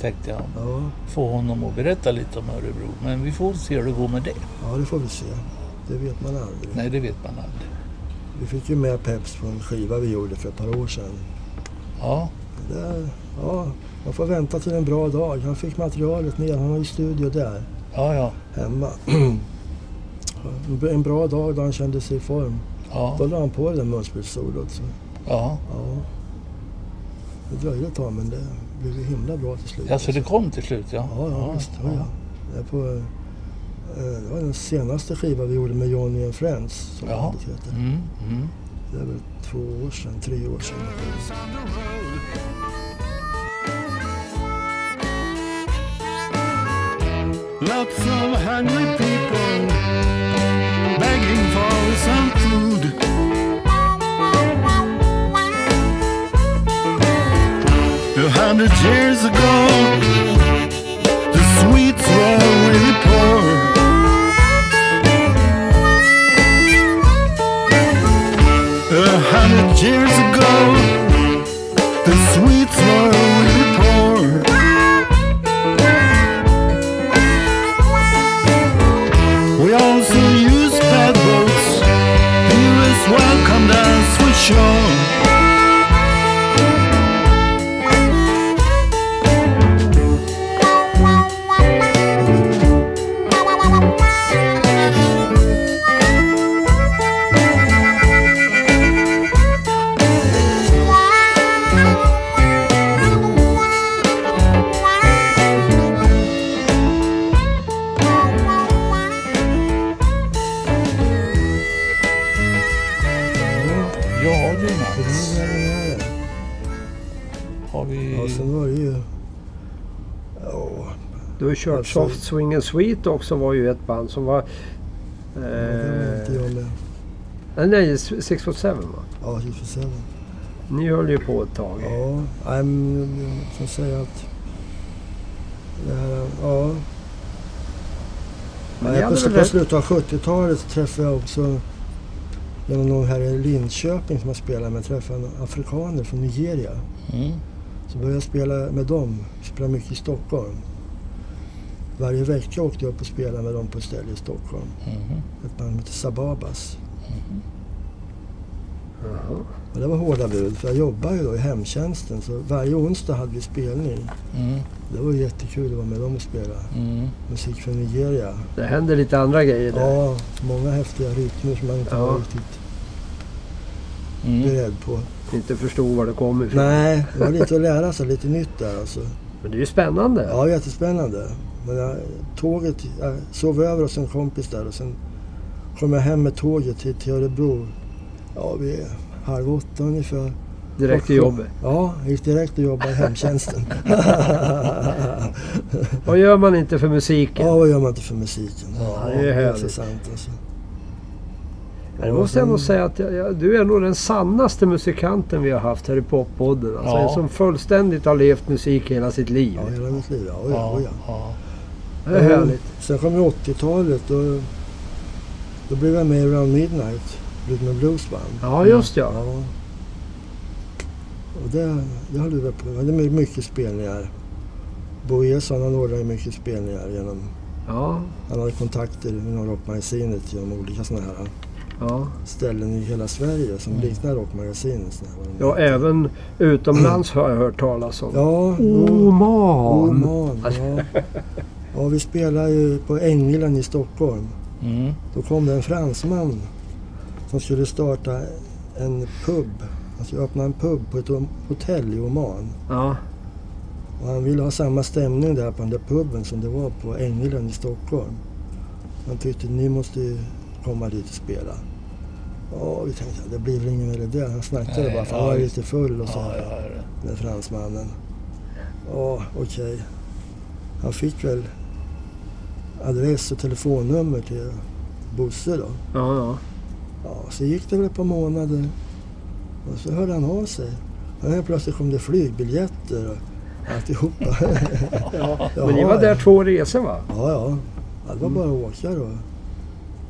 [SPEAKER 1] tänkte jag.
[SPEAKER 3] Ja,
[SPEAKER 1] Få honom att berätta lite om Örebro. Men vi får se hur det går med det.
[SPEAKER 3] ja, det får vi se. Det vet man aldrig.
[SPEAKER 1] Nej, det vet man aldrig.
[SPEAKER 3] Vi fick ju med Peps på en skiva vi gjorde för ett par år sedan.
[SPEAKER 1] Ja,
[SPEAKER 3] Det där, ja, man får vänta till en bra dag. Han fick materialet med. Han har ju studio där
[SPEAKER 1] ja, ja.
[SPEAKER 3] hemma. en bra dag då han kände sig i form. Då
[SPEAKER 1] ja,
[SPEAKER 3] la han på det där munspelssolot. så,
[SPEAKER 1] ja.
[SPEAKER 3] Ja. Det dröjde ett tag men det blev ju himla bra till slut.
[SPEAKER 1] Alltså det kom till slut, ja.
[SPEAKER 3] Ja, ja, visst. Ja, ja. Det, är på, eh, det var den senaste skivan vi gjorde med Johnny and Friends. Som
[SPEAKER 1] Jaha.
[SPEAKER 3] bandet heter.
[SPEAKER 1] Mm, mm.
[SPEAKER 3] Det är väl två år sedan, tre år sedan.
[SPEAKER 8] Lots of hungry people begging for some food. A hundred years ago, the sweets were really poor. A hundred years ago, the sweets were really poor. We also use paddleboats. Viewers welcome us for sure.
[SPEAKER 1] Ja du Mats.
[SPEAKER 3] Ja, den här.
[SPEAKER 1] Har vi...
[SPEAKER 3] Ja, sen var det ju... Ja,
[SPEAKER 2] Du har ju kört
[SPEAKER 3] Absolut.
[SPEAKER 2] Soft Swing and Sweet också var ju ett band som var...
[SPEAKER 3] det var inte
[SPEAKER 2] Eh,
[SPEAKER 3] jag med.
[SPEAKER 2] nej, nej, Six Foot Seven va?
[SPEAKER 3] Ja, Hit for Seven.
[SPEAKER 2] Ni höll ju på ett tag.
[SPEAKER 3] Ja, nej, men jag kan säga att... Det här, ja.
[SPEAKER 2] Men ni
[SPEAKER 3] Nej, på,
[SPEAKER 2] hade väl
[SPEAKER 3] på
[SPEAKER 2] rätt-
[SPEAKER 3] slutet av 70-talet träffade jag också genom någon här i Linköping som jag spelade med, träffade en afrikaner från Nigeria.
[SPEAKER 1] Mm.
[SPEAKER 3] Så började jag spela med dem, spela mycket i Stockholm. Varje vecka åkte jag upp och spelade med dem på ett ställe i Stockholm.
[SPEAKER 1] Mhm.
[SPEAKER 3] Ett band som hette Sababas.
[SPEAKER 1] Mm-hmm.
[SPEAKER 2] Jaha.
[SPEAKER 3] Och det var hårda bud, för jag jobbade ju då i hemtjänsten. Så varje onsdag hade vi spelning.
[SPEAKER 1] Mm.
[SPEAKER 3] Det var jättekul att vara med dem och spela
[SPEAKER 1] Mm.
[SPEAKER 3] musik från Nigeria.
[SPEAKER 2] Det hände lite andra grejer där.
[SPEAKER 3] Ja, många häftiga rytmer som man inte
[SPEAKER 2] Ja.
[SPEAKER 3] var riktigt
[SPEAKER 1] Mm.
[SPEAKER 3] beredd på.
[SPEAKER 2] Inte förstod var det kom ifrån.
[SPEAKER 3] Nej, det var lite att lära sig, lite nytt där alltså.
[SPEAKER 2] Men det är ju spännande.
[SPEAKER 3] Ja, jättespännande. Men jag, tåget, jag sov över hos en kompis där och sen kom jag hem med tåget till, till Örebro. Ja, vi är halv åtta ungefär.
[SPEAKER 2] Direkt till
[SPEAKER 3] Och-
[SPEAKER 2] jobbet.
[SPEAKER 3] Ja, jag gick direkt och jobbade i hemtjänsten.
[SPEAKER 2] Vad gör man inte för musiken?
[SPEAKER 3] ja, vad gör man inte för musiken? Ja,
[SPEAKER 2] det är
[SPEAKER 3] så
[SPEAKER 2] härligt.
[SPEAKER 3] sant alltså.
[SPEAKER 2] Men det måste jag nog säga att jag, jag, du är nog den sannaste musikanten vi har haft här i Poppodden. Alltså
[SPEAKER 1] Ja.
[SPEAKER 2] en som fullständigt har levt musik hela sitt liv.
[SPEAKER 3] Ja, hela mitt liv. Ja, oj,
[SPEAKER 1] Ja,
[SPEAKER 3] oj, ja.
[SPEAKER 1] ja.
[SPEAKER 2] Det är härligt.
[SPEAKER 3] Sen kom ju 80-talet och då blev jag med i Round Midnight, Rhythm and Blues Band.
[SPEAKER 2] Ja, just ja.
[SPEAKER 3] Ja. Och det, det höll vi väl på med. Det är mycket spelningar. Bo Esson han ordnade ju mycket spelningar genom...
[SPEAKER 2] Ja,
[SPEAKER 3] Han hade kontakter inom rockmagasinet genom olika sådana här
[SPEAKER 2] ja.
[SPEAKER 3] ställen i hela Sverige som liknar rockmagasinet. Såna här, vad de
[SPEAKER 2] Mm. ja
[SPEAKER 3] heter.
[SPEAKER 2] även utomlands har jag hört talas om.
[SPEAKER 3] ja, jo.
[SPEAKER 2] Oman!
[SPEAKER 3] Oman. Ja. ja, vi spelade ju på Ängelen i Stockholm.
[SPEAKER 1] Mm.
[SPEAKER 3] Då kom det en fransman som skulle starta en pub. Han skulle öppna en pub på ett om- hotell i Oman.
[SPEAKER 2] Ja,
[SPEAKER 3] Och han ville ha samma stämning där på den där puben som det var på Ängelen i Stockholm. Han tyckte ni måste ju komma dit och spela. Ja, vi tänkte det blir väl ingen med det där. Han snackade
[SPEAKER 1] Nej,
[SPEAKER 3] bara för
[SPEAKER 1] ja,
[SPEAKER 3] han var
[SPEAKER 1] visst.
[SPEAKER 3] lite full och så
[SPEAKER 1] Ja,
[SPEAKER 3] här,
[SPEAKER 1] ja, ja.
[SPEAKER 3] den fransmannen. Ja, okej. Han fick väl adress och telefonnummer till Bosse då.
[SPEAKER 2] ja, ja.
[SPEAKER 3] Ja, så gick det väl ett par månader och så hörde han av sig. Och helt plötsligt kom det flygbiljetter och alltihopa. Jaha,
[SPEAKER 2] Men ni var där Mm. två resor va?
[SPEAKER 3] Ja, ja. Ja, Det var bara att åka då.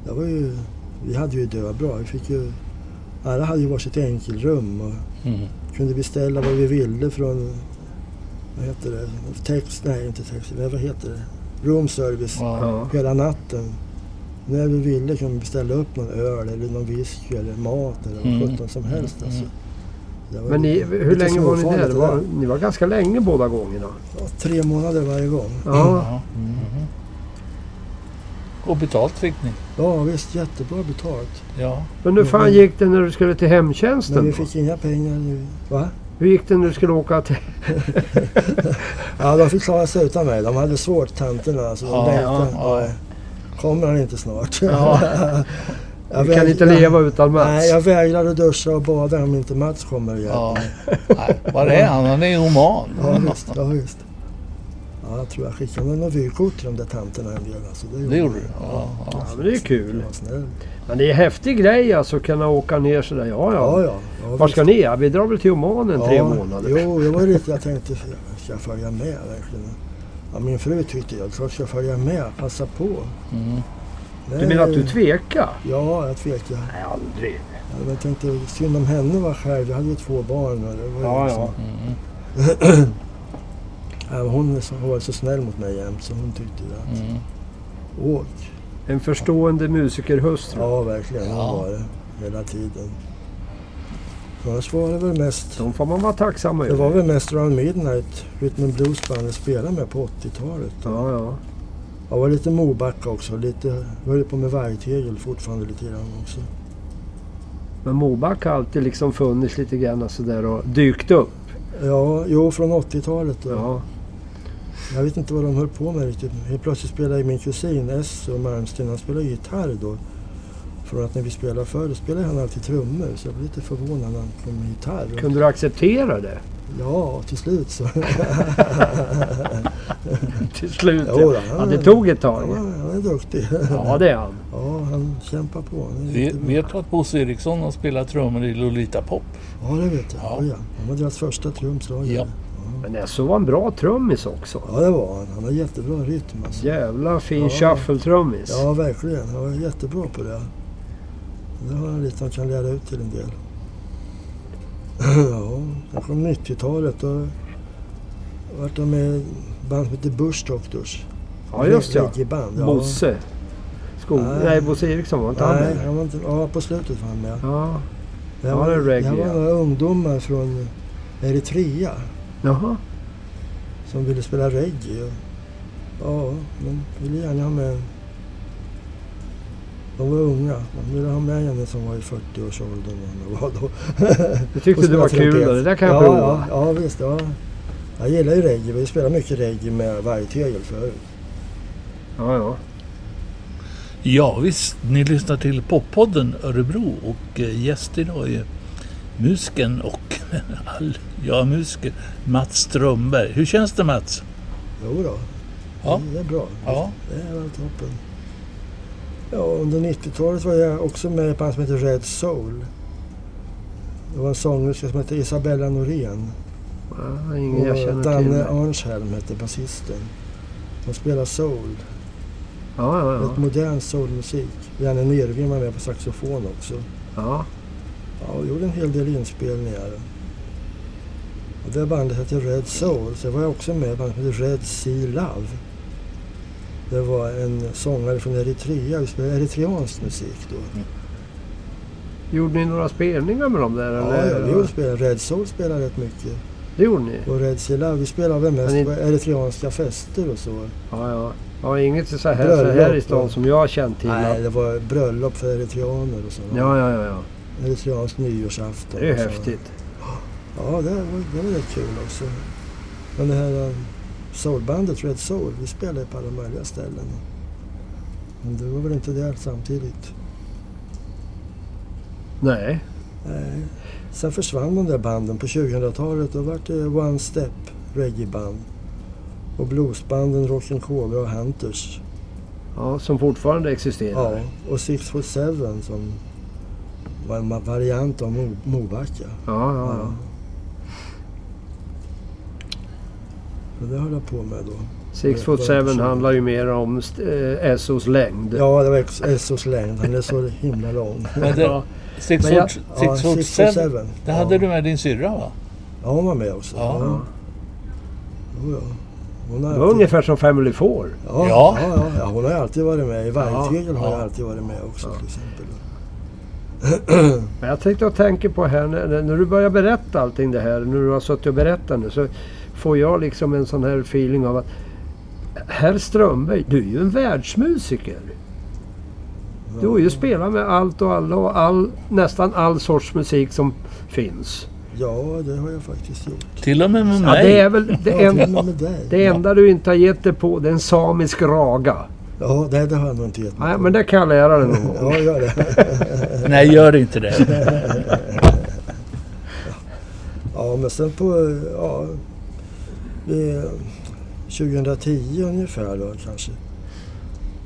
[SPEAKER 3] Det var ju, vi hade ju det bra. Vi fick ju, alla hade ju varsitt enkelrum och
[SPEAKER 1] Mm.
[SPEAKER 3] kunde beställa vad vi ville från, vad heter det, text, nej inte text, men vad heter det, room service
[SPEAKER 1] Ja.
[SPEAKER 2] Ja.
[SPEAKER 3] hela natten. när vi ville kunde vi beställa upp någon öl eller någon whisky eller mat eller vad
[SPEAKER 1] Mm.
[SPEAKER 3] sjutton som helst. Alltså. Det var
[SPEAKER 2] Men ni,
[SPEAKER 3] lite-
[SPEAKER 2] hur
[SPEAKER 3] lite
[SPEAKER 2] länge var ni
[SPEAKER 3] småfarligt
[SPEAKER 2] där?
[SPEAKER 3] det
[SPEAKER 2] Var, ni var ganska länge båda gångerna.
[SPEAKER 3] Ja, Tre månader varje gång.
[SPEAKER 2] Ja.
[SPEAKER 3] Mm.
[SPEAKER 1] Ja. mhm. Och betalt fick ni?
[SPEAKER 3] Ja visst, jättebra betalt.
[SPEAKER 1] Ja.
[SPEAKER 2] Men hur fan gick det när du skulle till
[SPEAKER 3] Mm. Men
[SPEAKER 2] hemtjänsten?
[SPEAKER 3] vi
[SPEAKER 2] då?
[SPEAKER 3] fick inga pengar. nu. Va?
[SPEAKER 2] Hur gick det när du skulle åka till...
[SPEAKER 3] Ja, de fick klara sig utan mig. De hade svårt, tanterna. Alltså, de
[SPEAKER 1] Ja,
[SPEAKER 3] ja,
[SPEAKER 1] ja, ja.
[SPEAKER 3] Kommer han inte snart? Jag
[SPEAKER 2] Vi kan
[SPEAKER 3] väg-
[SPEAKER 2] inte
[SPEAKER 3] jag-
[SPEAKER 2] leva utan Mats.
[SPEAKER 3] Nej, jag vägrar att duscha och bada om inte Mats kommer igen.
[SPEAKER 1] ja. Nej, var är han? Han är human.
[SPEAKER 3] Ja,
[SPEAKER 2] Mm.
[SPEAKER 3] visst. Ja, visst. Ja, jag tror jag skickade med något vykort till de där tanterna en del. Alltså,
[SPEAKER 1] Det gjorde du?
[SPEAKER 3] jag.
[SPEAKER 1] Ja, ja.
[SPEAKER 2] Ja, men det är ju kul.
[SPEAKER 3] Jag var snäll.
[SPEAKER 2] Men det är en häftig grej alltså att kunna åka ner sådär. Ja,
[SPEAKER 3] Ja,
[SPEAKER 2] ja.
[SPEAKER 3] ja. ja
[SPEAKER 2] Var ska ni? Ja, vi drar väl till Omanen
[SPEAKER 3] ja,
[SPEAKER 2] tre månader.
[SPEAKER 3] Jo, det var lite jag tänkte, ska jag följa med verkligen? Ja, min fru tyckte jag, klart ska jag följa med, passa på.
[SPEAKER 1] Mm.
[SPEAKER 2] Du menar att du tvekar?
[SPEAKER 3] Ja, jag tvekade.
[SPEAKER 2] Nej, aldrig.
[SPEAKER 3] Ja, men Jag tänkte synd om henne var själv. Jag hade ju två barn. Och det var ju
[SPEAKER 2] Ja,
[SPEAKER 3] liksom-
[SPEAKER 2] ja.
[SPEAKER 1] Mm.
[SPEAKER 3] Ja, Hon är så- har varit så snäll mot mig jämt så hon tyckte det. att
[SPEAKER 1] Mm.
[SPEAKER 3] Åk!
[SPEAKER 2] En förstående musikerhustru.
[SPEAKER 3] Ja, verkligen. Hon
[SPEAKER 1] Ja.
[SPEAKER 3] var det. Hela tiden. Annars var det väl mest...
[SPEAKER 2] De får man vara tacksam över.
[SPEAKER 3] Det var väl mest Round Midnight, Rhythm and Blues band jag spelade med på 80-talet.
[SPEAKER 2] Ja, ja.
[SPEAKER 3] Jag var lite Mobacka också. Lite, jag höll på med vargtegel fortfarande lite grann också.
[SPEAKER 2] Men Moback har alltid liksom funnits lite grann sådär och dykt upp.
[SPEAKER 3] Ja, jo från 80-talet. då.
[SPEAKER 2] Ja.
[SPEAKER 3] Jag vet inte vad de höll på med riktigt. Helt plötsligt spelade ju min kusin S och Malmsten, han spelade gitarr då. För att när vi spelade förr då spelade han alltid trummor. Så jag blev lite förvånad när han kom med gitarr.
[SPEAKER 2] Kunde du acceptera det
[SPEAKER 3] Ja, till slut så.
[SPEAKER 2] till slut?
[SPEAKER 3] Jo då,
[SPEAKER 2] Ja,
[SPEAKER 3] han-
[SPEAKER 2] ja det tog ett
[SPEAKER 3] Han,
[SPEAKER 2] tag.
[SPEAKER 3] var- han är duktig.
[SPEAKER 2] Ja, det är han.
[SPEAKER 3] Ja, han kämpar på. Han är
[SPEAKER 1] Vet-
[SPEAKER 3] riktigt bra.
[SPEAKER 1] Vet du att Bosse Eriksson har spelat trummor i Lolita Pop?
[SPEAKER 3] Ja, det vet jag.
[SPEAKER 1] Ja.
[SPEAKER 3] Ja. Ja. Han var deras första trumslagare.
[SPEAKER 1] Ja.
[SPEAKER 2] Men SO var en bra trummis också.
[SPEAKER 3] ja, det var han. Han har jättebra rytm alltså.
[SPEAKER 2] Jävla fin
[SPEAKER 3] Ja.
[SPEAKER 2] shuffle-trummis.
[SPEAKER 3] Ja, verkligen. Han var jättebra på det. Det har han lite han kan lära ut till en del. ja, sen kom 90-talet. Då vart jag med i ett band som hette Bush Doctors.
[SPEAKER 2] Ja, just ja.
[SPEAKER 3] Reggaeband. Ja.
[SPEAKER 2] Bosse. Skog...
[SPEAKER 3] Nej.
[SPEAKER 2] Nej, Bosse Eriksson var inte han
[SPEAKER 3] Nej,
[SPEAKER 2] med?
[SPEAKER 3] han var inte, ja, på slutet var han med.
[SPEAKER 2] Ja.
[SPEAKER 3] Det
[SPEAKER 2] Ja,
[SPEAKER 3] här var,
[SPEAKER 2] det är
[SPEAKER 3] det här
[SPEAKER 2] reggae, ja.
[SPEAKER 3] var några ungdomar från Eritrea
[SPEAKER 2] Jaha.
[SPEAKER 3] som ville spela reggae. och- Ja, de ville gärna ha med en- de var unga. De ville ha med en som var i 40-årsåldern. eller vad det var då.
[SPEAKER 2] Du tyckte
[SPEAKER 3] Och
[SPEAKER 2] det var
[SPEAKER 3] spela
[SPEAKER 2] kul
[SPEAKER 3] trumpet.
[SPEAKER 2] och det där kan jag
[SPEAKER 3] ja,
[SPEAKER 2] prova.
[SPEAKER 3] Ja, ja visst. Ja. Jag gillar ju reggae. Vi spelade mycket reggae med vargtegel förut.
[SPEAKER 2] Ja, ja.
[SPEAKER 1] Ja visst, ni lyssnar till Poppodden Örebro och eh, gäst idag är musikern och all, ja, musiker Mats Strömberg. Hur känns det Mats?
[SPEAKER 3] Jo då.
[SPEAKER 1] Ja.
[SPEAKER 3] Det är bra.
[SPEAKER 1] Ja.
[SPEAKER 3] Det är väl toppen. Ja, under 90-talet var jag också med i ett band som hette Red Soul. Det var en sångerska som hette Isabella Norén.
[SPEAKER 2] ja ingen jag
[SPEAKER 3] Och
[SPEAKER 2] känner till.
[SPEAKER 3] Danne
[SPEAKER 2] Ja,
[SPEAKER 3] Arnshelm hette basisten. De spelade soul.
[SPEAKER 2] ja,
[SPEAKER 3] Rätt
[SPEAKER 2] ja.
[SPEAKER 3] modern soulmusik. Janne Nerving var med på saxofon också.
[SPEAKER 2] ja.
[SPEAKER 3] Ja, och gjorde en hel del inspelningar. Och det bandet hette Red Soul, så jag var jag också med i bandet som hette Red Sea Love. Det var en sångare från Eritrea, vi spelade eritreansk musik då.
[SPEAKER 2] Gjorde ni några spelningar med dem där?
[SPEAKER 3] Ja, ja,
[SPEAKER 2] eller?
[SPEAKER 3] vi gjorde spela, Red Soul spelade rätt mycket.
[SPEAKER 2] Det gjorde ni?
[SPEAKER 3] Och Red Sea Love, vi spelade väl mest
[SPEAKER 2] Men
[SPEAKER 3] på eritreanska fester och så.
[SPEAKER 2] Ja, ja. ja inget så här, så
[SPEAKER 3] Bröllop,
[SPEAKER 2] här i stan
[SPEAKER 3] ja.
[SPEAKER 2] som jag har känt till.
[SPEAKER 3] Nej,
[SPEAKER 2] Ja,
[SPEAKER 3] det var bröllop för eritreaner och sådana.
[SPEAKER 2] ja, ja. ja.
[SPEAKER 3] Eritreansk nyårsafton.
[SPEAKER 2] Det är ju
[SPEAKER 3] och så.
[SPEAKER 2] häftigt.
[SPEAKER 3] Ja, det var, det var rätt kul också. Men det här eh, soulbandet Red Soul, vi spelade på alla möjliga ställen. Men du var väl inte där samtidigt?
[SPEAKER 2] Nej.
[SPEAKER 3] Nej. Sen försvann de där banden på 2000-talet. Då vart det One Step reggaeband. Och bluesbanden Rock'n'Cobra och Hunters.
[SPEAKER 2] Ja, som fortfarande
[SPEAKER 3] Ja,
[SPEAKER 2] existerar.
[SPEAKER 3] och Six Foot Seven som var en variant av Mo- Mobacka.
[SPEAKER 2] Ja, ja, ja.
[SPEAKER 3] Så det höll jag på med då.
[SPEAKER 2] Six foot seven handlar ju mer om st- eh, SOs längd.
[SPEAKER 3] Ja, det var ex- Essos längd. Han är så himla lång.
[SPEAKER 1] Men det, six
[SPEAKER 2] Men jag-
[SPEAKER 1] foot,
[SPEAKER 3] Ja,
[SPEAKER 1] six foot
[SPEAKER 3] Six Foot
[SPEAKER 1] seven.
[SPEAKER 3] Seven.
[SPEAKER 1] Det
[SPEAKER 3] ja.
[SPEAKER 1] hade du med din syrra va?
[SPEAKER 3] Ja, hon var med också.
[SPEAKER 1] Ja.
[SPEAKER 3] Jo, ja. Hon har
[SPEAKER 2] Det var
[SPEAKER 3] alltid,
[SPEAKER 2] ungefär som Family Four.
[SPEAKER 1] Ja.
[SPEAKER 3] ja, ja. Ja, ja, hon har ju alltid varit med. I Vargtegel har
[SPEAKER 1] Ja.
[SPEAKER 3] jag alltid varit med också till exempel.
[SPEAKER 2] Men jag tänkte och tänker på här när, när- när du börjar berätta allting det här. När du har suttit och berättat nu så får jag liksom en sån här feeling av att Herr Strömberg, du är ju en världsmusiker. Du har ju spelat med allt och alla och all, nästan all sorts musik som finns.
[SPEAKER 3] Ja, det har jag faktiskt gjort.
[SPEAKER 1] Till och med med
[SPEAKER 2] Ja, det
[SPEAKER 1] mig.
[SPEAKER 2] är väl
[SPEAKER 3] Ja,
[SPEAKER 2] det,
[SPEAKER 3] till och
[SPEAKER 2] en,
[SPEAKER 3] med med dig.
[SPEAKER 2] det enda du inte har gett dig på det är en samisk raga.
[SPEAKER 3] Ja, nej, det har jag nog inte gett mig
[SPEAKER 2] Nej,
[SPEAKER 3] på.
[SPEAKER 2] men det kan jag lära dig någon gång.
[SPEAKER 3] Ja, gör det.
[SPEAKER 1] Nej, gör inte det.
[SPEAKER 3] Ja, men sen på... Ja, vi- 2010 ungefär då kanske.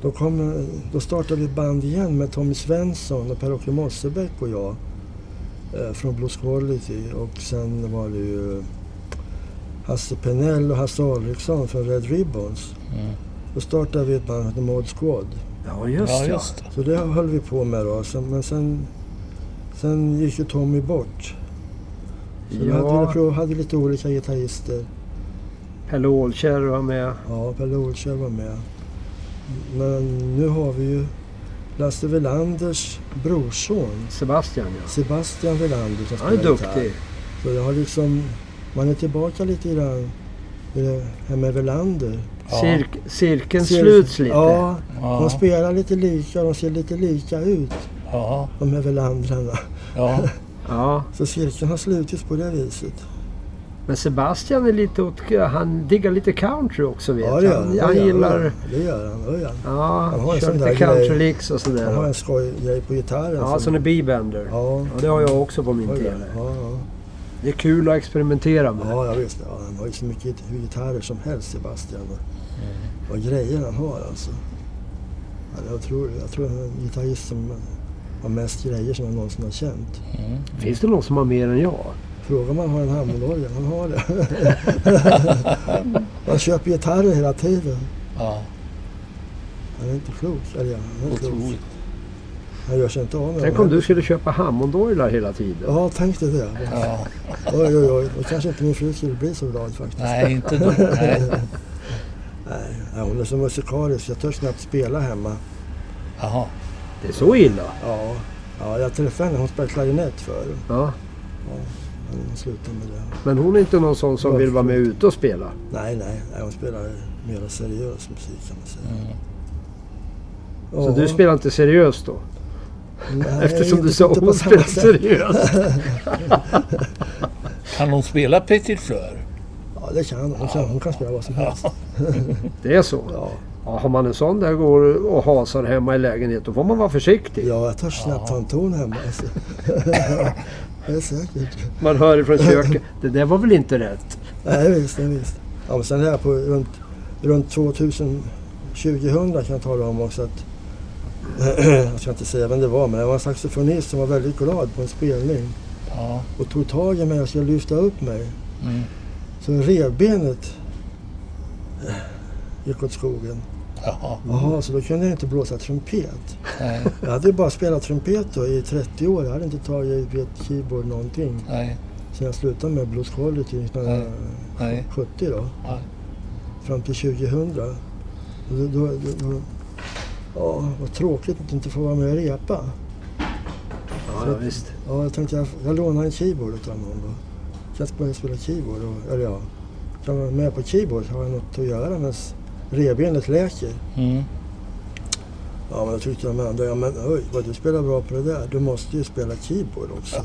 [SPEAKER 3] Då, kom, då startade vi ett band igen med Tommy Svensson och Per-Åke Mossebäck och jag. Eh, från Blues Quality och sen var det ju Hasse Penell och Hasse Alriksson från Red Ribbons.
[SPEAKER 1] Mm.
[SPEAKER 3] Då startade vi ett band som hette Mod Squad.
[SPEAKER 2] Ja,
[SPEAKER 1] Ja,
[SPEAKER 2] just ja.
[SPEAKER 1] just det.
[SPEAKER 3] Så det höll vi på med då. Sen, men sen, sen gick ju Tommy bort. Så vi hade,
[SPEAKER 2] Ja,
[SPEAKER 3] vi- hade lite olika gitarrister.
[SPEAKER 2] Pelle Ålkärr var med.
[SPEAKER 3] Ja, Pelle Olscher var med. Men nu har vi ju Lasse Welanders brorson
[SPEAKER 2] Sebastian ja.
[SPEAKER 3] Sebastian Welander som
[SPEAKER 2] Han är
[SPEAKER 3] gitarr.
[SPEAKER 2] duktig.
[SPEAKER 3] Så jag har liksom, man är tillbaka lite grann i det här med Welander.
[SPEAKER 1] Ja.
[SPEAKER 2] Cirk, cirkeln sluts lite.
[SPEAKER 3] Ja, de
[SPEAKER 1] Ja,
[SPEAKER 3] spelar lite lika, de ser lite lika ut
[SPEAKER 1] ja,
[SPEAKER 3] de här Welandrarna.
[SPEAKER 1] ja.
[SPEAKER 2] Ja.
[SPEAKER 3] Så cirkeln har slutits på det viset.
[SPEAKER 2] Men Sebastian är lite åt, han diggar lite country också vet
[SPEAKER 3] Ja,
[SPEAKER 2] jag.
[SPEAKER 3] det gör
[SPEAKER 2] han.
[SPEAKER 3] det gör
[SPEAKER 2] gillar,
[SPEAKER 3] Det gör han, det gör han.
[SPEAKER 2] ja,
[SPEAKER 3] Han har en
[SPEAKER 2] kör
[SPEAKER 3] sån
[SPEAKER 2] lite
[SPEAKER 3] där grej.
[SPEAKER 2] country licks och
[SPEAKER 3] Han har
[SPEAKER 2] sådär.
[SPEAKER 3] en skojgrej på gitarren.
[SPEAKER 2] Ja, som en bebender. Ja.
[SPEAKER 3] Ja,
[SPEAKER 2] det har jag också på min
[SPEAKER 3] ja,
[SPEAKER 2] tele.
[SPEAKER 3] ja.
[SPEAKER 2] Det är kul att experimentera med.
[SPEAKER 3] Ja, ja visst. Ja, han har ju så mycket hur gitarrer som helst, Sebastian. Och, och grejer han har alltså. Ja, jag, tror, jag tror han är en gitarrist som har mest grejer som jag någonsin har känt.
[SPEAKER 2] Finns det någon som har mer än jag?
[SPEAKER 3] Frågar man har en Hammondorgel, han har det. han köper gitarrer hela tiden.
[SPEAKER 1] ja.
[SPEAKER 3] Han är inte klok. Eller ja, han är klok.
[SPEAKER 1] Otroligt.
[SPEAKER 3] Han gör sig inte av med
[SPEAKER 2] Tänk
[SPEAKER 3] dem.
[SPEAKER 2] om du skulle köpa Hammondorglar hela tiden.
[SPEAKER 3] Ja, tänk dig det.
[SPEAKER 1] Ja.
[SPEAKER 3] Oj, oj, oj. Då kanske inte min fru skulle bli så glad faktiskt.
[SPEAKER 1] Nej, inte då. Nej.
[SPEAKER 3] Ja, hon är så musikalisk. Jag törs knappt spela hemma.
[SPEAKER 1] Jaha.
[SPEAKER 2] Det är så illa?
[SPEAKER 3] Ja, ja jag träffade henne. Hon spelade klarinett förr.
[SPEAKER 2] Ja.
[SPEAKER 3] Men hon slutade med det.
[SPEAKER 2] Men hon är inte någon sån som vill vara med ute och spela?
[SPEAKER 3] Nej, nej, nej hon spelar mer seriös musik kan man säga.
[SPEAKER 2] Mm. Så du spelar inte seriöst då?
[SPEAKER 3] spelar
[SPEAKER 2] Eftersom du sa hon spelar seriöst.
[SPEAKER 1] Kan hon spela Petit Fleur?
[SPEAKER 3] Ja, det kan hon. Hon kan, hon kan spela vad som helst.
[SPEAKER 2] Det är så?
[SPEAKER 3] Ja,
[SPEAKER 2] Ja, har man en sån där går och hasar hemma i lägenheten då får man vara försiktig.
[SPEAKER 3] ja jag törs knappt ta en ton hemma. Alltså. det är säkert.
[SPEAKER 2] Man hör ifrån köket, det där var väl inte rätt?
[SPEAKER 3] Nej, visst, nej, visst. Ja, men sen här på runt, runt 2000, 2000 kan jag tala om också att jag ska inte säga vem det var, men det var en saxofonist som var väldigt glad på en spelning.
[SPEAKER 1] Ja.
[SPEAKER 3] och tog tag i mig och skulle lyfta upp mig.
[SPEAKER 1] Mm.
[SPEAKER 3] Så revbenet eh, gick åt skogen.
[SPEAKER 1] Jaha.
[SPEAKER 3] Jaha, så då kunde jag inte blåsa trumpet.
[SPEAKER 1] Nej.
[SPEAKER 3] Jag hade ju bara spelat trumpet då i 30 år. Jag hade inte tagit vid ett keyboard någonting.
[SPEAKER 1] Nej.
[SPEAKER 3] Så jag slutade med Blues Quality 1970
[SPEAKER 1] Nej.
[SPEAKER 3] då.
[SPEAKER 1] Ja.
[SPEAKER 3] Fram till 2000. Och då, då, då, då, ja, vad tråkigt att inte få vara med och repa.
[SPEAKER 2] Ja, ja visst.
[SPEAKER 3] Ja, jag tänkte jag, jag lånar en keyboard utav någon då. Så jag ska börja spela keyboard. Och, eller ja, kan man vara med på keyboard har jag något att göra medan revbenet läker.
[SPEAKER 1] Mm.
[SPEAKER 3] Ja, men då tyckte de andra, ja men oj, vad du spelar bra på det där. Du måste ju spela keyboard också.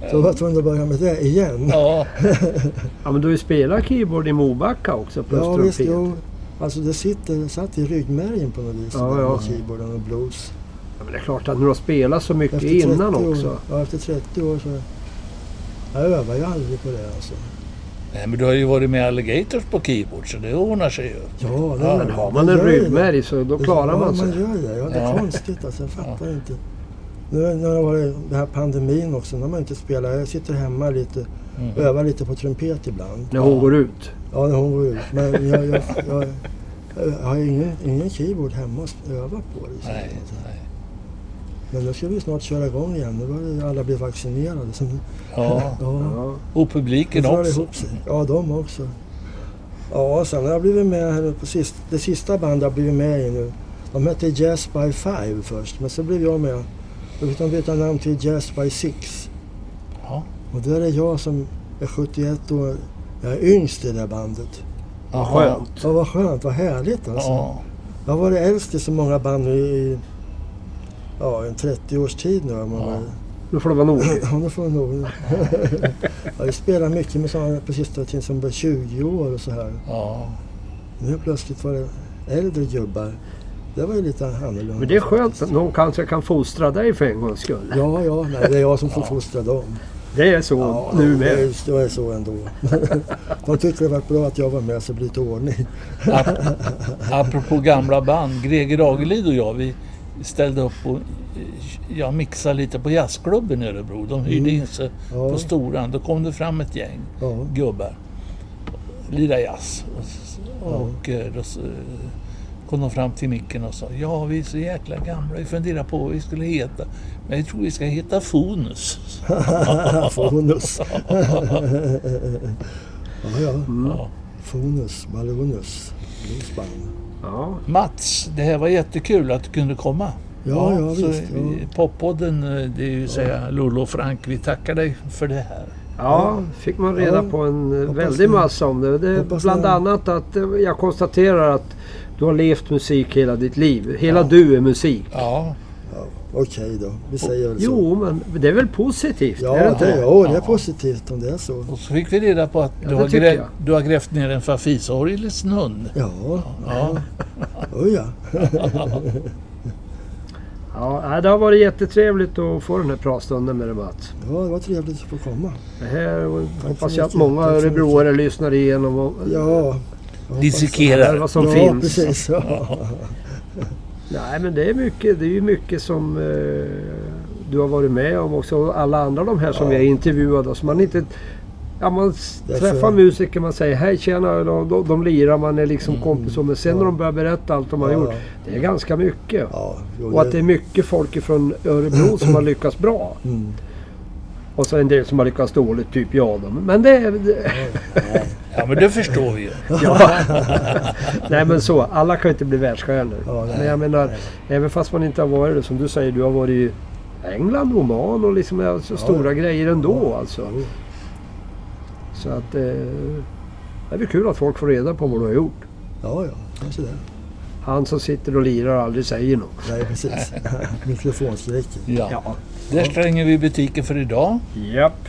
[SPEAKER 3] Så jag var tvungen att börja med det igen.
[SPEAKER 1] Ja.
[SPEAKER 2] Ja, men du har ju spelat keyboard i Mobacka också plus
[SPEAKER 3] Ja,
[SPEAKER 2] trumpet.
[SPEAKER 3] visst, jo. Alltså det sitter, satt i ryggmärgen på något vis,
[SPEAKER 2] Ja,
[SPEAKER 3] ja,
[SPEAKER 2] ja.
[SPEAKER 3] med keyboarden och blues.
[SPEAKER 2] Ja, men det är klart att när du har spelat så mycket
[SPEAKER 3] Efter 30
[SPEAKER 2] innan
[SPEAKER 3] år,
[SPEAKER 2] också.
[SPEAKER 3] Ja, efter 30 år så... Jag övar ju aldrig på det alltså.
[SPEAKER 1] Nej, men du har ju varit med Alligators på keyboard, så det ordnar sig ju.
[SPEAKER 3] Ja, det
[SPEAKER 1] Ja,
[SPEAKER 3] gör
[SPEAKER 2] Men
[SPEAKER 3] jag.
[SPEAKER 2] har man
[SPEAKER 3] Det
[SPEAKER 2] en
[SPEAKER 3] gör jag.
[SPEAKER 2] ryggmärg så då klarar
[SPEAKER 3] ja,
[SPEAKER 2] man sig.
[SPEAKER 3] man gör det. Ja, det är
[SPEAKER 1] Ja.
[SPEAKER 3] konstigt alltså. Jag fattar inte. Nu när det var den här pandemin också, när man inte spelar. Jag sitter hemma lite,
[SPEAKER 2] Mm.
[SPEAKER 3] övar lite på trumpet ibland.
[SPEAKER 2] När hon går ut.
[SPEAKER 3] Ja, när hon går ut. Men jag, jag, jag, jag har ingen, ingen keyboard hemma att öva på. Liksom.
[SPEAKER 1] Nej. nej.
[SPEAKER 3] Men nu ska vi snart köra igång igen. Nu börjar alla bli vaccinerade. Så, nu-
[SPEAKER 1] Ja.
[SPEAKER 3] ja,
[SPEAKER 2] Ja.
[SPEAKER 1] Och
[SPEAKER 3] nu
[SPEAKER 1] publiken
[SPEAKER 3] drar det
[SPEAKER 1] också.
[SPEAKER 3] ihop sig. Ja, de också. Ja, sen har jag blivit med här på sist, det sista bandet jag blivit med i nu. De hette Jazz by Five först, men så blev jag med. Då fick de byta namn till Jazz by Six.
[SPEAKER 1] Ja.
[SPEAKER 3] Och där är jag som är 71 år. Jag är yngst i det där bandet.
[SPEAKER 1] Ja, skönt.
[SPEAKER 3] Ja, vad skönt, vad härligt alltså.
[SPEAKER 1] Ja.
[SPEAKER 3] Jag har varit äldst i så många band nu i ja, en 30 års tid nu. Om man
[SPEAKER 1] Ja.
[SPEAKER 2] Nu får det vara nog.
[SPEAKER 3] Ja, det får jag nog. ja, jag spelar mycket med sådana på sista tiden som var 20 år och så här.
[SPEAKER 1] Ja.
[SPEAKER 3] Nu plötsligt var det äldre gubbar. Det var ju lite annorlunda.
[SPEAKER 2] Men det är skönt att
[SPEAKER 3] faktiskt.
[SPEAKER 2] någon kanske kan fostra dig för en gångs skull.
[SPEAKER 3] Ja, ja, nej, det är jag som får fostra dem.
[SPEAKER 2] Det är så
[SPEAKER 3] Ja,
[SPEAKER 2] nu
[SPEAKER 3] det
[SPEAKER 2] med.
[SPEAKER 3] är- Det är så ändå. De tyckte det var bra att jag var med så det blir lite ordning.
[SPEAKER 1] Ap- apropå gamla band, Greger Agelid och jag, vi ställde upp och eh, jag mixade lite på jazzklubben i Örebro. De hyrde in sig
[SPEAKER 3] Mm. Ja.
[SPEAKER 1] på Storan. Då kom det fram ett gäng
[SPEAKER 3] Ja.
[SPEAKER 1] gubbar, lirade jazz. Och, s- och eh, då s- eh, kom de fram till micken och sa, ja vi är så jäkla gamla, vi funderar på vad vi skulle heta. Men jag tror vi ska heta Fonus.
[SPEAKER 3] Fonus. ja, ja.
[SPEAKER 2] Mm.
[SPEAKER 1] Ja.
[SPEAKER 3] Fonus, Balonus, bluesband.
[SPEAKER 2] Ja.
[SPEAKER 1] Mats, det här var jättekul att du kunde komma.
[SPEAKER 3] Ja, ja,
[SPEAKER 1] så
[SPEAKER 3] visst, ja.
[SPEAKER 1] i Poppodden, eh, det är ju säga Lollo och Frank, vi tackar dig för det här.
[SPEAKER 2] Ja, fick man reda
[SPEAKER 3] Ja,
[SPEAKER 2] på en eh,
[SPEAKER 3] hoppas
[SPEAKER 2] väldig
[SPEAKER 3] det.
[SPEAKER 2] massa om det. det är
[SPEAKER 3] Hoppas
[SPEAKER 2] bland
[SPEAKER 3] det.
[SPEAKER 2] annat att eh, jag konstaterar att du har levt musik hela ditt liv. Hela du är musik.
[SPEAKER 1] Ja,
[SPEAKER 3] Ja, Okej då, vi säger väl så.
[SPEAKER 2] Jo, men det är väl positivt?
[SPEAKER 3] Ja,
[SPEAKER 2] är det inte
[SPEAKER 3] det,
[SPEAKER 2] det?
[SPEAKER 3] ja, det är
[SPEAKER 1] Ja.
[SPEAKER 3] positivt om det är så.
[SPEAKER 1] och så fick vi reda på att
[SPEAKER 2] Ja,
[SPEAKER 1] du,
[SPEAKER 2] det
[SPEAKER 1] har
[SPEAKER 2] tycker
[SPEAKER 1] grä-
[SPEAKER 2] jag.
[SPEAKER 1] du har grävt ner en fafisorgelens hund.
[SPEAKER 3] Ja,
[SPEAKER 1] Ja,
[SPEAKER 3] oj ja.
[SPEAKER 2] Ja, nej, det har varit jättetrevligt att få den här pratstunden med dig Mats.
[SPEAKER 3] Ja, det var trevligt att få komma.
[SPEAKER 2] Det här och
[SPEAKER 3] så
[SPEAKER 2] hoppas jag att
[SPEAKER 3] mycket.
[SPEAKER 2] många
[SPEAKER 3] Tack så
[SPEAKER 2] örebroare lyssnar igenom och
[SPEAKER 3] Ja, jag hoppas-
[SPEAKER 1] dissekerar.
[SPEAKER 2] vad som
[SPEAKER 3] ja,
[SPEAKER 2] finns.
[SPEAKER 3] Precis, ja.
[SPEAKER 2] Nej, men det är mycket, det är ju mycket som eh, du har varit med om också. Alla andra de här som vi har intervjuat. Alltså man inte, ja, man s-
[SPEAKER 3] Därför-
[SPEAKER 2] träffar musiker, man säger hej tjena, de, de, de lirar, man är liksom kompis. och- Men sen när de börjar berätta allt de har
[SPEAKER 3] Mm. Ja,
[SPEAKER 2] gjort.
[SPEAKER 3] ja.
[SPEAKER 2] Det är ganska mycket.
[SPEAKER 3] ja jo,
[SPEAKER 2] Och att det är mycket folk från Örebro som har lyckats bra.
[SPEAKER 3] Mm.
[SPEAKER 2] Och så en del som har lyckats dåligt, typ jag då. Men det är... Det,
[SPEAKER 1] Ja, men det förstår vi ju.
[SPEAKER 2] ja. Nej men så, alla kan ju inte bli världsstjärnor.
[SPEAKER 3] Ja, nej.
[SPEAKER 2] men jag menar, även fast man inte har varit det, som du säger, du har varit i England, Oman och liksom alltså, stora grejer ändå alltså.
[SPEAKER 3] Jo.
[SPEAKER 2] Så att... Eh, det är väl kul att folk får reda på vad du har gjort.
[SPEAKER 3] Ja, ja, kanske det.
[SPEAKER 2] Han som sitter och lirar och aldrig säger något.
[SPEAKER 3] Nej, precis. Mikrofonskräcken.
[SPEAKER 1] Ja. Där stänger vi butiken för idag.
[SPEAKER 2] Japp.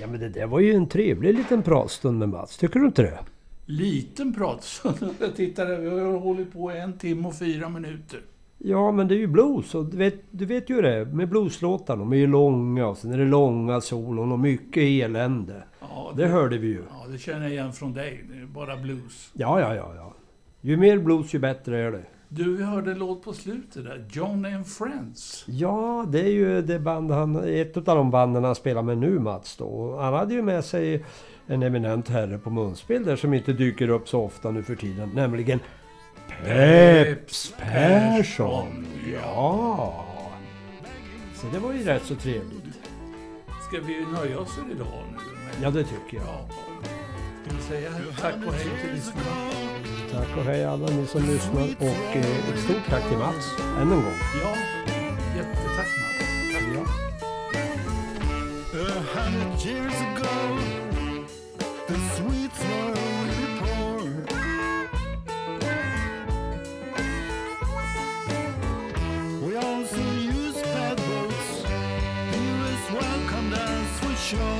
[SPEAKER 2] Ja men det där var ju en trevlig liten pratstund med Mats, tycker du inte det?
[SPEAKER 1] Liten pratstund. Jag tittade, vi har hållit på en timme och fyra minuter.
[SPEAKER 2] Ja men det är ju blues och du vet, du vet ju hur det är med blueslåtarna. De är ju långa och sen är det långa solon och mycket elände.
[SPEAKER 1] Ja,
[SPEAKER 2] Det hörde vi ju.
[SPEAKER 1] ja, det känner jag igen från dig. Det är bara blues.
[SPEAKER 2] Ja, ja, ja, ja. Ju mer blues ju bättre är det.
[SPEAKER 1] Du, vi hörde en låt på slutet där. John and Friends.
[SPEAKER 2] Ja, det är ju det band han, ett av de banden han spelar med nu Mats då. Och Han hade ju med sig en eminent herre på munspel där som inte dyker upp så ofta nu för tiden, nämligen Peps Persson. Ja! Så det var ju rätt så trevligt.
[SPEAKER 1] Ska vi nöja oss för idag nu? Men,
[SPEAKER 2] Ja, det tycker jag.
[SPEAKER 1] ja. Ska vi säga tack och hej till lyssnarna?
[SPEAKER 2] Tack och hej alla ni som lyssnar och eh, ett stort tack till Mats än en gång.
[SPEAKER 1] Ja, jättetack Mats. Tack.
[SPEAKER 8] A hundred years ago, the sweets were really poor. We also used bad boats. Viewers welcomed us for sure.